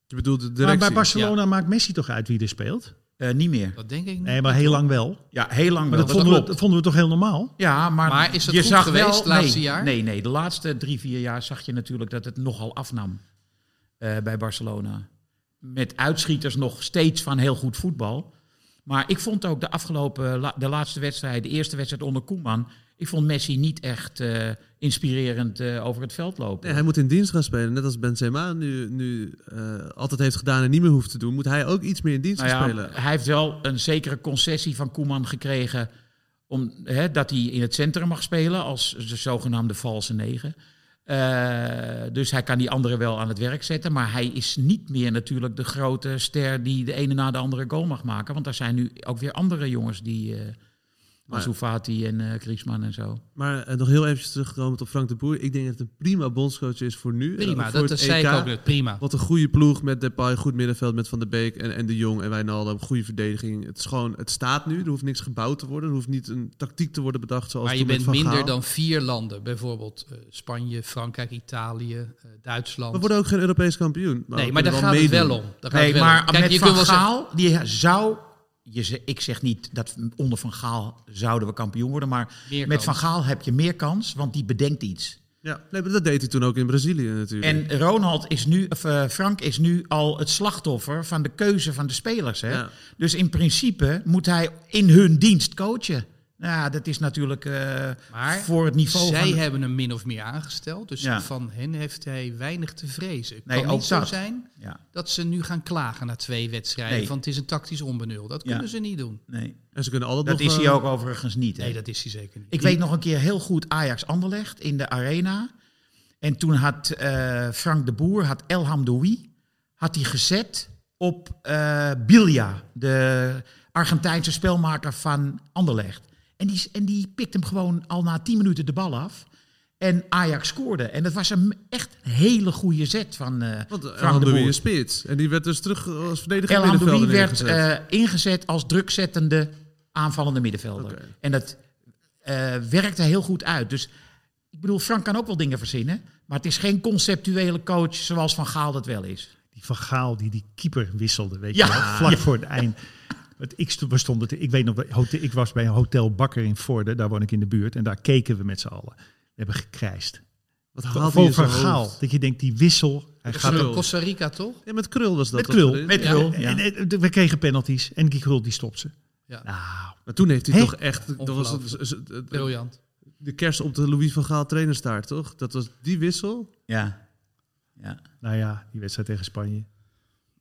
[SPEAKER 5] Je bedoelt de
[SPEAKER 3] Maar
[SPEAKER 5] directie.
[SPEAKER 3] bij Barcelona maakt Messi toch uit wie er speelt?
[SPEAKER 2] Eh, niet meer.
[SPEAKER 1] Dat denk ik niet.
[SPEAKER 3] Nee, maar heel lang wel.
[SPEAKER 2] Ja, heel lang
[SPEAKER 3] Maar
[SPEAKER 2] wel.
[SPEAKER 3] dat vonden, we, dat vonden we toch heel normaal?
[SPEAKER 2] Ja, maar,
[SPEAKER 1] Maar is dat
[SPEAKER 2] je
[SPEAKER 1] goed
[SPEAKER 2] zag
[SPEAKER 1] geweest
[SPEAKER 2] wel,
[SPEAKER 1] het laatste
[SPEAKER 2] nee,
[SPEAKER 1] jaar?
[SPEAKER 2] Nee, nee, de laatste drie, vier jaar zag je natuurlijk dat het nogal afnam eh, bij Barcelona. Met uitschieters nog steeds van heel goed eh, voetbal. Maar ik vond ook de afgelopen, la- de laatste wedstrijd, de eerste wedstrijd onder Koeman, Ik vond Messi niet echt eh, inspirerend eh, over het veld lopen.
[SPEAKER 5] Nee, hij moet in dienst gaan spelen. Net als Benzema nu, nu eh, altijd heeft gedaan en niet meer hoeft te doen, moet hij ook iets meer in dienst
[SPEAKER 2] Nou
[SPEAKER 5] gaan
[SPEAKER 2] ja,
[SPEAKER 5] spelen.
[SPEAKER 2] hij heeft wel een zekere concessie van Koeman gekregen. Om, hè, dat hij in het centrum mag spelen als de zogenaamde valse negen. Eh, dus hij kan die anderen wel aan het werk zetten. Maar hij is niet meer natuurlijk de grote ster die de ene na de andere goal mag maken. Want er zijn nu ook weer andere jongens die... eh Ansu Fati en eh Griezmann en zo.
[SPEAKER 5] Maar eh, nog heel even terugkomend op Frank de Boer. Ik denk dat het een prima bondscoach is voor nu. Eh,
[SPEAKER 1] Prima,
[SPEAKER 5] voor
[SPEAKER 1] dat, dat
[SPEAKER 5] het
[SPEAKER 1] zei ik
[SPEAKER 5] EK.
[SPEAKER 1] ook net. Prima.
[SPEAKER 5] Wat een goede ploeg met Depay, goed middenveld met Van der Beek en, en De Jong en Wijnaldum. Goede verdediging. Het, is gewoon, het staat nu, er hoeft niks gebouwd te worden. Er hoeft niet een tactiek te worden bedacht zoals
[SPEAKER 1] Maar je
[SPEAKER 5] toen met
[SPEAKER 1] bent
[SPEAKER 5] Van
[SPEAKER 1] minder
[SPEAKER 5] Gaal.
[SPEAKER 1] dan vier landen. Bijvoorbeeld eh, Spanje, Frankrijk, Italië, eh, Duitsland.
[SPEAKER 5] We worden ook geen Europees kampioen.
[SPEAKER 1] nee,
[SPEAKER 5] we
[SPEAKER 1] maar daar
[SPEAKER 5] kunnen
[SPEAKER 1] gaat het wel
[SPEAKER 5] meedoen.
[SPEAKER 1] om. Daar gaat
[SPEAKER 2] Nee,
[SPEAKER 1] het wel
[SPEAKER 2] maar
[SPEAKER 1] om. Kijk,
[SPEAKER 2] met
[SPEAKER 1] je
[SPEAKER 2] Van
[SPEAKER 1] kunt wel zeggen-
[SPEAKER 2] Gaal, die zou... Je, ze- ik zeg niet dat onder Van Gaal zouden we kampioen worden. Maar
[SPEAKER 1] Meer
[SPEAKER 2] met
[SPEAKER 1] kans.
[SPEAKER 2] Van Gaal heb je meer kans, want die bedenkt iets.
[SPEAKER 5] Ja, nee, maar dat deed hij toen ook in Brazilië natuurlijk.
[SPEAKER 2] En Ronald is nu, of, eh, Frank is nu al het slachtoffer van de keuze van de spelers. Hè?
[SPEAKER 5] Ja.
[SPEAKER 2] Dus in principe moet hij in hun dienst coachen. Nou, ja, dat is natuurlijk eh,
[SPEAKER 1] Maar
[SPEAKER 2] voor het niveau
[SPEAKER 1] Zij
[SPEAKER 2] van... de-
[SPEAKER 1] hebben hem min of meer aangesteld. Dus
[SPEAKER 2] Ja.
[SPEAKER 1] van hen heeft hij weinig te vrezen. Het
[SPEAKER 2] Nee,
[SPEAKER 1] kan
[SPEAKER 2] ook
[SPEAKER 1] niet zo
[SPEAKER 2] dat.
[SPEAKER 1] zijn
[SPEAKER 2] Ja,
[SPEAKER 1] dat ze nu gaan klagen na twee wedstrijden.
[SPEAKER 2] Nee.
[SPEAKER 1] Want het is een tactisch onbenul. Dat
[SPEAKER 2] Ja.
[SPEAKER 1] kunnen ze niet doen.
[SPEAKER 2] nee.
[SPEAKER 5] En ze kunnen altijd
[SPEAKER 2] Dat
[SPEAKER 5] nog...
[SPEAKER 2] is
[SPEAKER 5] eh,
[SPEAKER 2] hij ook overigens niet. Hè?
[SPEAKER 1] Nee, dat is hij zeker niet.
[SPEAKER 2] Ik weet nog een keer heel goed Ajax Anderlecht in de arena. En toen had eh, Frank de Boer, had El Hamdoui, had hij gezet op eh Bilja, de Argentijnse spelmaker van Anderlecht. En die, en die pikte hem gewoon al na 10 minuten de bal af. En Ajax scoorde. En dat was een echt hele goede zet van eh
[SPEAKER 5] Want
[SPEAKER 2] Frank
[SPEAKER 5] Elhan
[SPEAKER 2] de Boer.
[SPEAKER 5] is spits. En die werd dus terug als verdediger
[SPEAKER 2] El Hamdoui
[SPEAKER 5] middenvelder
[SPEAKER 2] werd
[SPEAKER 5] neergezet.
[SPEAKER 2] eh, ingezet als drukzettende aanvallende middenvelder.
[SPEAKER 5] Oké.
[SPEAKER 2] En dat eh, werkte heel goed uit. Dus ik bedoel, Frank kan ook wel dingen verzinnen. Maar het is geen conceptuele coach zoals Van Gaal dat wel is.
[SPEAKER 3] Die Van Gaal die die keeper wisselde, weet
[SPEAKER 2] Ja.
[SPEAKER 3] je wel, vlak
[SPEAKER 2] Ja.
[SPEAKER 3] voor het eind. Want ik, sto- we stonden te- ik weet nog, bij hotel- ik was bij een hotel Bakker in Vorden, daar woon ik in de buurt. En daar keken we met z'n allen. We hebben gekrijsd.
[SPEAKER 5] Wat
[SPEAKER 3] Van
[SPEAKER 5] haalt hij in
[SPEAKER 3] Van
[SPEAKER 5] zijn
[SPEAKER 3] Gaal,
[SPEAKER 5] hoofd?
[SPEAKER 3] dat je denkt, die wissel, hij
[SPEAKER 1] Dat
[SPEAKER 3] gaat
[SPEAKER 1] was
[SPEAKER 5] Krul.
[SPEAKER 1] ook Costa Rica toch?
[SPEAKER 5] Ja, met Krul was dat.
[SPEAKER 3] Met
[SPEAKER 5] toch?
[SPEAKER 3] Krul. Met
[SPEAKER 5] Ja.
[SPEAKER 2] Krul.
[SPEAKER 3] En, eh, we kregen penalties en die Krul die stopt ze.
[SPEAKER 1] Ja.
[SPEAKER 3] Nou,
[SPEAKER 5] Maar toen heeft hij
[SPEAKER 3] Hè?
[SPEAKER 5] toch echt... Dat was het-
[SPEAKER 1] Ongelooflijk.
[SPEAKER 5] is het- het-
[SPEAKER 1] Briljant.
[SPEAKER 5] de kerst op de Louis van Gaal trainerstaart, toch? Dat was die wissel.
[SPEAKER 2] Ja. ja.
[SPEAKER 3] nou ja, die wedstrijd tegen Spanje.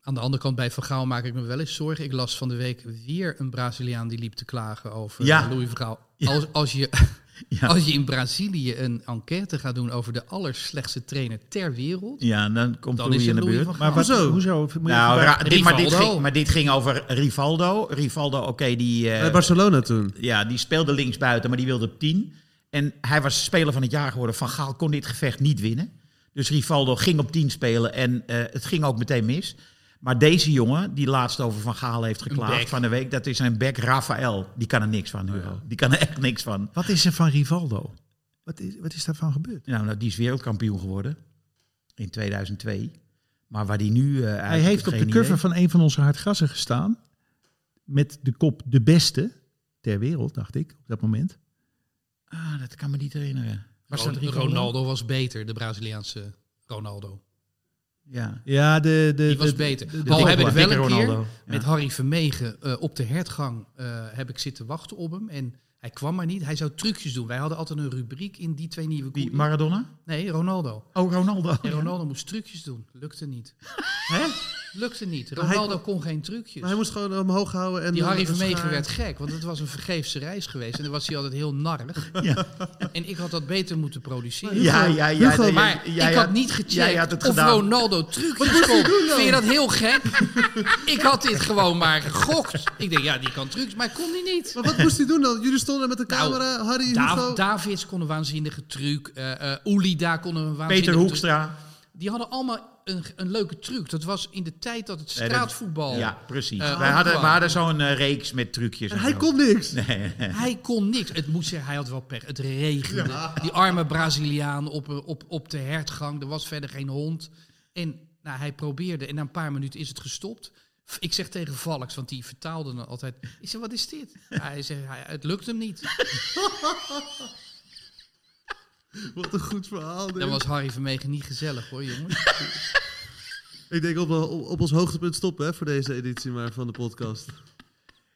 [SPEAKER 1] Aan de andere kant, bij Van Gaal maak ik me wel eens zorgen. Ik las van de week weer een Braziliaan die liep te klagen over
[SPEAKER 2] Ja.
[SPEAKER 1] eh, Louis van Gaal.
[SPEAKER 2] Ja.
[SPEAKER 1] Als, als, je,
[SPEAKER 2] Ja.
[SPEAKER 1] als je in Brazilië een enquête gaat doen over de allerslechtste trainer ter wereld...
[SPEAKER 2] ja, dan komt
[SPEAKER 1] dan is
[SPEAKER 2] Louis
[SPEAKER 1] het
[SPEAKER 2] in de
[SPEAKER 1] Louis
[SPEAKER 2] buurt.
[SPEAKER 1] van Gaal.
[SPEAKER 3] Maar wat,
[SPEAKER 5] Hoezo?
[SPEAKER 3] hoezo? Moet je
[SPEAKER 2] Nou,
[SPEAKER 3] even
[SPEAKER 2] ra-
[SPEAKER 3] bij-
[SPEAKER 2] dit, maar, dit
[SPEAKER 1] Rivaldo.
[SPEAKER 2] ging, maar dit ging over Rivaldo. Rivaldo, oké, die... eh,
[SPEAKER 5] Bij Barcelona toen.
[SPEAKER 2] Ja, die speelde linksbuiten, maar die wilde op 10. En hij was speler van het jaar geworden. Van Gaal kon dit gevecht niet winnen. Dus Rivaldo ging op 10 spelen en eh, het ging ook meteen mis. Maar deze jongen, die laatst over Van Gaal heeft
[SPEAKER 1] back.
[SPEAKER 2] geklaagd van de week, dat is een back Rafael. Die kan er niks van, Hugo. Die kan er echt niks van.
[SPEAKER 3] wat is er van Rivaldo? Wat is, wat is daarvan gebeurd?
[SPEAKER 2] Nou, nou, die is wereldkampioen geworden in 2002. Maar waar die nu eh,
[SPEAKER 3] Hij
[SPEAKER 2] eigenlijk
[SPEAKER 3] heeft op de
[SPEAKER 2] geen
[SPEAKER 3] cover
[SPEAKER 2] idee-
[SPEAKER 3] van een van onze hardgassen gestaan. Met de kop de beste ter wereld, dacht ik, op dat moment.
[SPEAKER 2] Ah, dat kan me niet herinneren. Was dat
[SPEAKER 1] Ron-
[SPEAKER 2] Rivaldo?
[SPEAKER 1] Ronaldo was beter, de Braziliaanse Ronaldo.
[SPEAKER 2] Ja.
[SPEAKER 3] Ja, de... de
[SPEAKER 1] Die was
[SPEAKER 3] de-
[SPEAKER 1] beter.
[SPEAKER 3] de- de-
[SPEAKER 1] Al
[SPEAKER 2] dikke-
[SPEAKER 1] heb ik wel
[SPEAKER 2] dikke
[SPEAKER 1] een keer
[SPEAKER 2] Ronaldo. Ja.
[SPEAKER 1] met Harry Vermegen eh, op de hertgang eh, heb ik zitten wachten op hem. En hij kwam maar niet. Hij zou trucjes doen. Wij hadden altijd een rubriek in die twee nieuwe
[SPEAKER 2] Die
[SPEAKER 1] koeien.
[SPEAKER 2] Maradona?
[SPEAKER 1] Nee, Ronaldo.
[SPEAKER 2] Oh, Ronaldo.
[SPEAKER 1] En Ronaldo moest trucjes doen. Lukte niet.
[SPEAKER 5] Hè?
[SPEAKER 1] Lukte niet.
[SPEAKER 5] Maar hij
[SPEAKER 1] Ronaldo kon geen trucjes.
[SPEAKER 5] Maar hij moest gewoon omhoog houden. En eh,
[SPEAKER 1] die
[SPEAKER 5] dan
[SPEAKER 1] Harry
[SPEAKER 5] een
[SPEAKER 1] Vermegen
[SPEAKER 5] schaar.
[SPEAKER 1] werd gek, want het was een vergeefse reis geweest. En dan was hij altijd heel narrig.
[SPEAKER 2] Ja.
[SPEAKER 1] En ik had dat beter moeten produceren.
[SPEAKER 2] Ja, ja, ja.
[SPEAKER 5] Hugo,
[SPEAKER 2] nee,
[SPEAKER 1] Maar
[SPEAKER 2] jij- jij
[SPEAKER 1] ik
[SPEAKER 2] had-
[SPEAKER 1] had niet gecheckt
[SPEAKER 2] jij had het
[SPEAKER 1] of
[SPEAKER 2] gedaan.
[SPEAKER 1] Ronaldo trucjes kon. Vind je dat heel gek? ik had dit gewoon maar gegokt. Ik denk, ja, die kan trucs, maar kon die niet.
[SPEAKER 5] Maar wat moest hij doen dan? Jullie stonden met de
[SPEAKER 1] Nou,
[SPEAKER 5] camera, Harry,
[SPEAKER 1] Da
[SPEAKER 5] Hugo.
[SPEAKER 1] Davids kon een waanzinnige truc. eh eh Ulida kon een waanzinnige
[SPEAKER 2] Peter
[SPEAKER 1] truc.
[SPEAKER 2] Hoekstra.
[SPEAKER 1] Die hadden allemaal een, een leuke truc. Dat was in de tijd dat het
[SPEAKER 2] Nee, dat-
[SPEAKER 1] straatvoetbal...
[SPEAKER 2] Ja,
[SPEAKER 1] Eh,
[SPEAKER 2] precies. wij, hadden,
[SPEAKER 1] Antoine.
[SPEAKER 2] we hadden zo'n eh, reeks met trucjes.
[SPEAKER 5] En
[SPEAKER 2] en
[SPEAKER 5] hij
[SPEAKER 2] zo.
[SPEAKER 5] kon niks.
[SPEAKER 2] Nee.
[SPEAKER 1] Hij kon niks. Het moet zeggen, hij had wel pech. Het regende. Die arme Braziliaan op, op, op de hertgang. Er was verder geen hond. En nou, hij probeerde. En na een paar minuten is het gestopt. F- Ik zeg tegen Valks, want die vertaalde dan altijd. Ik zeg, wat is dit? Ja, hij zegt, hij- het lukt hem niet.
[SPEAKER 5] Wat een goed verhaal. dit.
[SPEAKER 1] Dan was Harry Vermegen niet gezellig hoor, jongens.
[SPEAKER 5] Ik denk op, op, op ons hoogtepunt stoppen hè, voor deze editie maar van de podcast.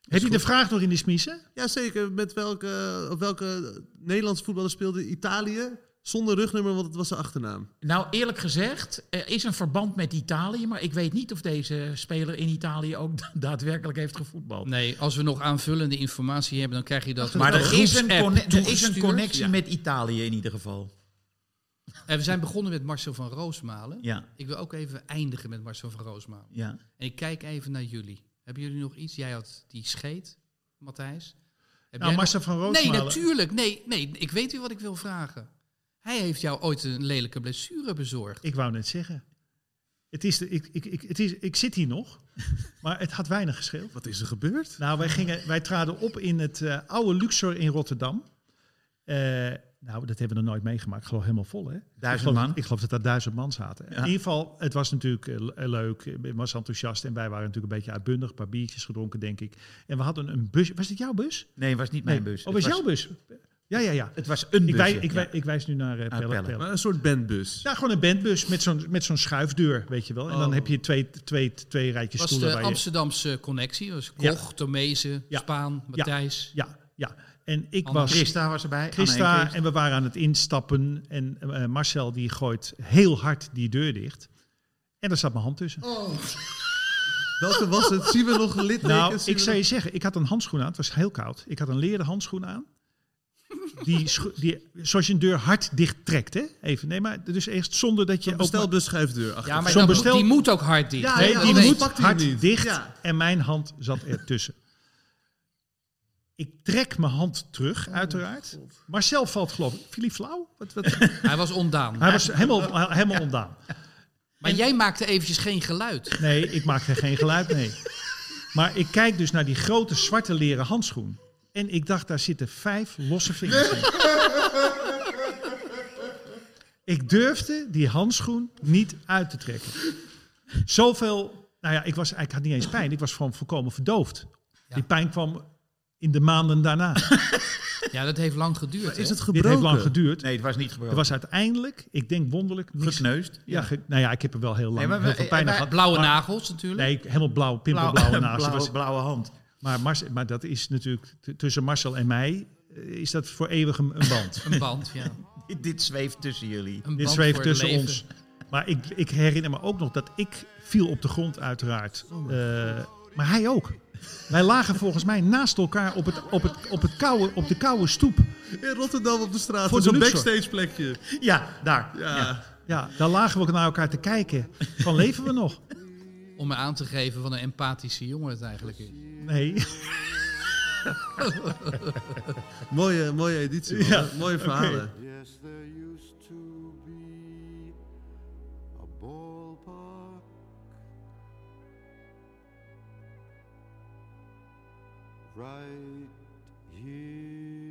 [SPEAKER 3] Heb je de vraag nog in de smiezen?
[SPEAKER 5] Jazeker, met welke, op welke Nederlandse voetballer speelde Italië zonder rugnummer, want het was zijn achternaam.
[SPEAKER 2] Nou, eerlijk gezegd, er is een verband met Italië, maar ik weet niet of deze speler in Italië ook daadwerkelijk heeft gevoetbald.
[SPEAKER 1] Nee, als we nog aanvullende informatie hebben, dan krijg je dat.
[SPEAKER 2] Maar
[SPEAKER 1] op
[SPEAKER 2] er is, een
[SPEAKER 1] groepsapp
[SPEAKER 2] conne- er is een
[SPEAKER 1] toegestuurd.
[SPEAKER 2] connectie
[SPEAKER 1] Ja.
[SPEAKER 2] met Italië in ieder geval.
[SPEAKER 1] En we zijn begonnen met Marcel van Roosmalen.
[SPEAKER 2] Ja,
[SPEAKER 1] Ik wil ook even eindigen met Marcel van Roosmalen.
[SPEAKER 2] ja.
[SPEAKER 1] En ik kijk even naar jullie. Hebben jullie nog iets? Jij had die scheet, Matthijs. Heb
[SPEAKER 3] Nou,
[SPEAKER 1] jij nog-
[SPEAKER 3] Marcel van
[SPEAKER 1] Nee,
[SPEAKER 3] Roosmalen.
[SPEAKER 1] natuurlijk. Nee, nee, ik weet u wat ik wil vragen. Hij heeft jou ooit een lelijke blessure bezorgd.
[SPEAKER 3] Ik wou net zeggen. Het is de, ik, ik, ik, het is, ik zit hier nog, maar het had weinig gescheeld.
[SPEAKER 5] Wat is er gebeurd?
[SPEAKER 3] Nou, wij, gingen, wij traden op in het eh, oude Luxor in Rotterdam. Eh, nou, dat hebben we nog nooit meegemaakt. Ik geloof helemaal vol, hè?
[SPEAKER 2] Duizend
[SPEAKER 3] ik geloof,
[SPEAKER 2] man.
[SPEAKER 3] Ik geloof dat daar duizend man zaten. In ieder geval, het was natuurlijk eh, le- leuk. Ik was enthousiast en wij waren natuurlijk een beetje uitbundig. Een paar biertjes gedronken, denk ik. En we hadden een bus. Was dit jouw bus?
[SPEAKER 2] Nee, het was niet mijn bus.
[SPEAKER 3] Oh,
[SPEAKER 2] Het
[SPEAKER 3] was jouw bus? Ja, ja, ja.
[SPEAKER 2] Het was een
[SPEAKER 3] Ik,
[SPEAKER 2] bus.
[SPEAKER 3] wij,
[SPEAKER 2] ja.
[SPEAKER 3] ik, wij- ik wijs nu naar eh, Pelle.
[SPEAKER 2] Pelle.
[SPEAKER 3] Pelle.
[SPEAKER 5] Maar een soort bandbus.
[SPEAKER 3] Ja, gewoon een bandbus met zo'n, met zo'n schuifdeur, weet je wel. En dan
[SPEAKER 5] Oh.
[SPEAKER 3] heb je twee, twee, twee rijtjes
[SPEAKER 1] was eh,
[SPEAKER 3] stoelen.
[SPEAKER 1] de
[SPEAKER 3] waar je-
[SPEAKER 1] Amsterdamse connectie. Dat was
[SPEAKER 3] Ja.
[SPEAKER 1] Koch, Tomezen,
[SPEAKER 3] Ja.
[SPEAKER 1] Spaan, Matthijs.
[SPEAKER 3] Ja, ja. En ik
[SPEAKER 1] Anne
[SPEAKER 3] was...
[SPEAKER 2] Christa was erbij. Anne en
[SPEAKER 3] Christa
[SPEAKER 2] Christa.
[SPEAKER 3] en we waren aan het instappen. En eh, Marcel die gooit heel hard die deur dicht. En daar zat mijn hand tussen. Nou,
[SPEAKER 5] Welke was het? Zien we nog littekens?
[SPEAKER 3] nou,
[SPEAKER 5] Zien
[SPEAKER 3] ik
[SPEAKER 5] we
[SPEAKER 3] zou je
[SPEAKER 5] nog-
[SPEAKER 3] zeggen, ik had een handschoen aan. Het was heel koud. Ik had een leren handschoen aan. Die, scho- die, zoals je een deur hard dicht trekt, hè? Even, nee, maar dus echt zonder dat je... ook maar-
[SPEAKER 5] Bestelbus schuifdeur achter.
[SPEAKER 1] Ja, maar
[SPEAKER 3] Zo'n
[SPEAKER 1] dat-
[SPEAKER 3] bestel-
[SPEAKER 1] die moet ook hard dicht.
[SPEAKER 5] Ja,
[SPEAKER 3] Nee,
[SPEAKER 5] ja,
[SPEAKER 3] die
[SPEAKER 5] anders
[SPEAKER 3] moet
[SPEAKER 5] pakt hij
[SPEAKER 3] hard
[SPEAKER 5] hem niet.
[SPEAKER 3] dicht
[SPEAKER 5] Ja.
[SPEAKER 3] en mijn hand zat ertussen. ik trek mijn hand terug, uiteraard. Marcel valt geloof ik. Viel hij flauw? Oh, Wat, wat?
[SPEAKER 1] Hij was ondaan.
[SPEAKER 3] Hij was helemaal, helemaal ontdaan.
[SPEAKER 1] Maar jij maakte eventjes geen geluid.
[SPEAKER 3] Nee, ik maak er geen geluid mee. Maar ik kijk dus naar die grote zwarte leren handschoen. En ik dacht, daar zitten vijf losse vingers in. Ik durfde die handschoen niet uit te trekken. Zoveel, nou ja, ik, was, ik had niet eens pijn. Ik was gewoon volkomen verdoofd. Die pijn kwam in de maanden daarna.
[SPEAKER 1] Ja, dat heeft lang geduurd.
[SPEAKER 5] Is
[SPEAKER 1] hè?
[SPEAKER 5] het
[SPEAKER 3] Dit
[SPEAKER 5] gebroken?
[SPEAKER 3] heeft lang geduurd.
[SPEAKER 2] Nee, het was niet gebroken.
[SPEAKER 3] Er was uiteindelijk, ik denk wonderlijk, niks.
[SPEAKER 2] gekneusd.
[SPEAKER 3] Ja, ge- nou ja, ik heb er wel heel lang
[SPEAKER 2] Nee, maar
[SPEAKER 3] heel
[SPEAKER 2] we-
[SPEAKER 3] veel pijn
[SPEAKER 2] wij-
[SPEAKER 3] aan gehad.
[SPEAKER 1] Blauwe
[SPEAKER 3] Maar-
[SPEAKER 1] nagels natuurlijk.
[SPEAKER 3] Nee, helemaal blauw, pimpelblauwe naast.
[SPEAKER 2] blauwe, blauwe hand.
[SPEAKER 3] Maar, Marce- maar dat is natuurlijk t- tussen Marcel en mij eh, is dat voor eeuwig een, een band.
[SPEAKER 1] Een band, ja.
[SPEAKER 2] Dit, dit zweeft tussen jullie.
[SPEAKER 1] Een
[SPEAKER 3] Dit
[SPEAKER 1] band
[SPEAKER 3] zweeft
[SPEAKER 1] voor het
[SPEAKER 3] tussen
[SPEAKER 1] leven.
[SPEAKER 3] ons. Maar ik, ik herinner me ook nog dat ik viel op de grond uiteraard.
[SPEAKER 1] Oh
[SPEAKER 3] Eh, maar hij ook. Wij lagen volgens mij naast elkaar op, het, op, het, op, het koude, op de koude stoep.
[SPEAKER 5] In Rotterdam op de straat.
[SPEAKER 3] Voor
[SPEAKER 5] Voor zo'n
[SPEAKER 3] de Luxor.
[SPEAKER 5] backstage plekje.
[SPEAKER 2] Ja, daar.
[SPEAKER 5] Ja.
[SPEAKER 3] Ja, daar lagen we ook naar elkaar te kijken. Van leven we nog?
[SPEAKER 1] Om me aan te geven wat een empathische jongen het eigenlijk is.
[SPEAKER 3] Nee.
[SPEAKER 5] Mooie, mooie editie. man.
[SPEAKER 3] Ja,
[SPEAKER 5] Mooie verhalen.
[SPEAKER 4] Yes, there used to be a ballpark right here.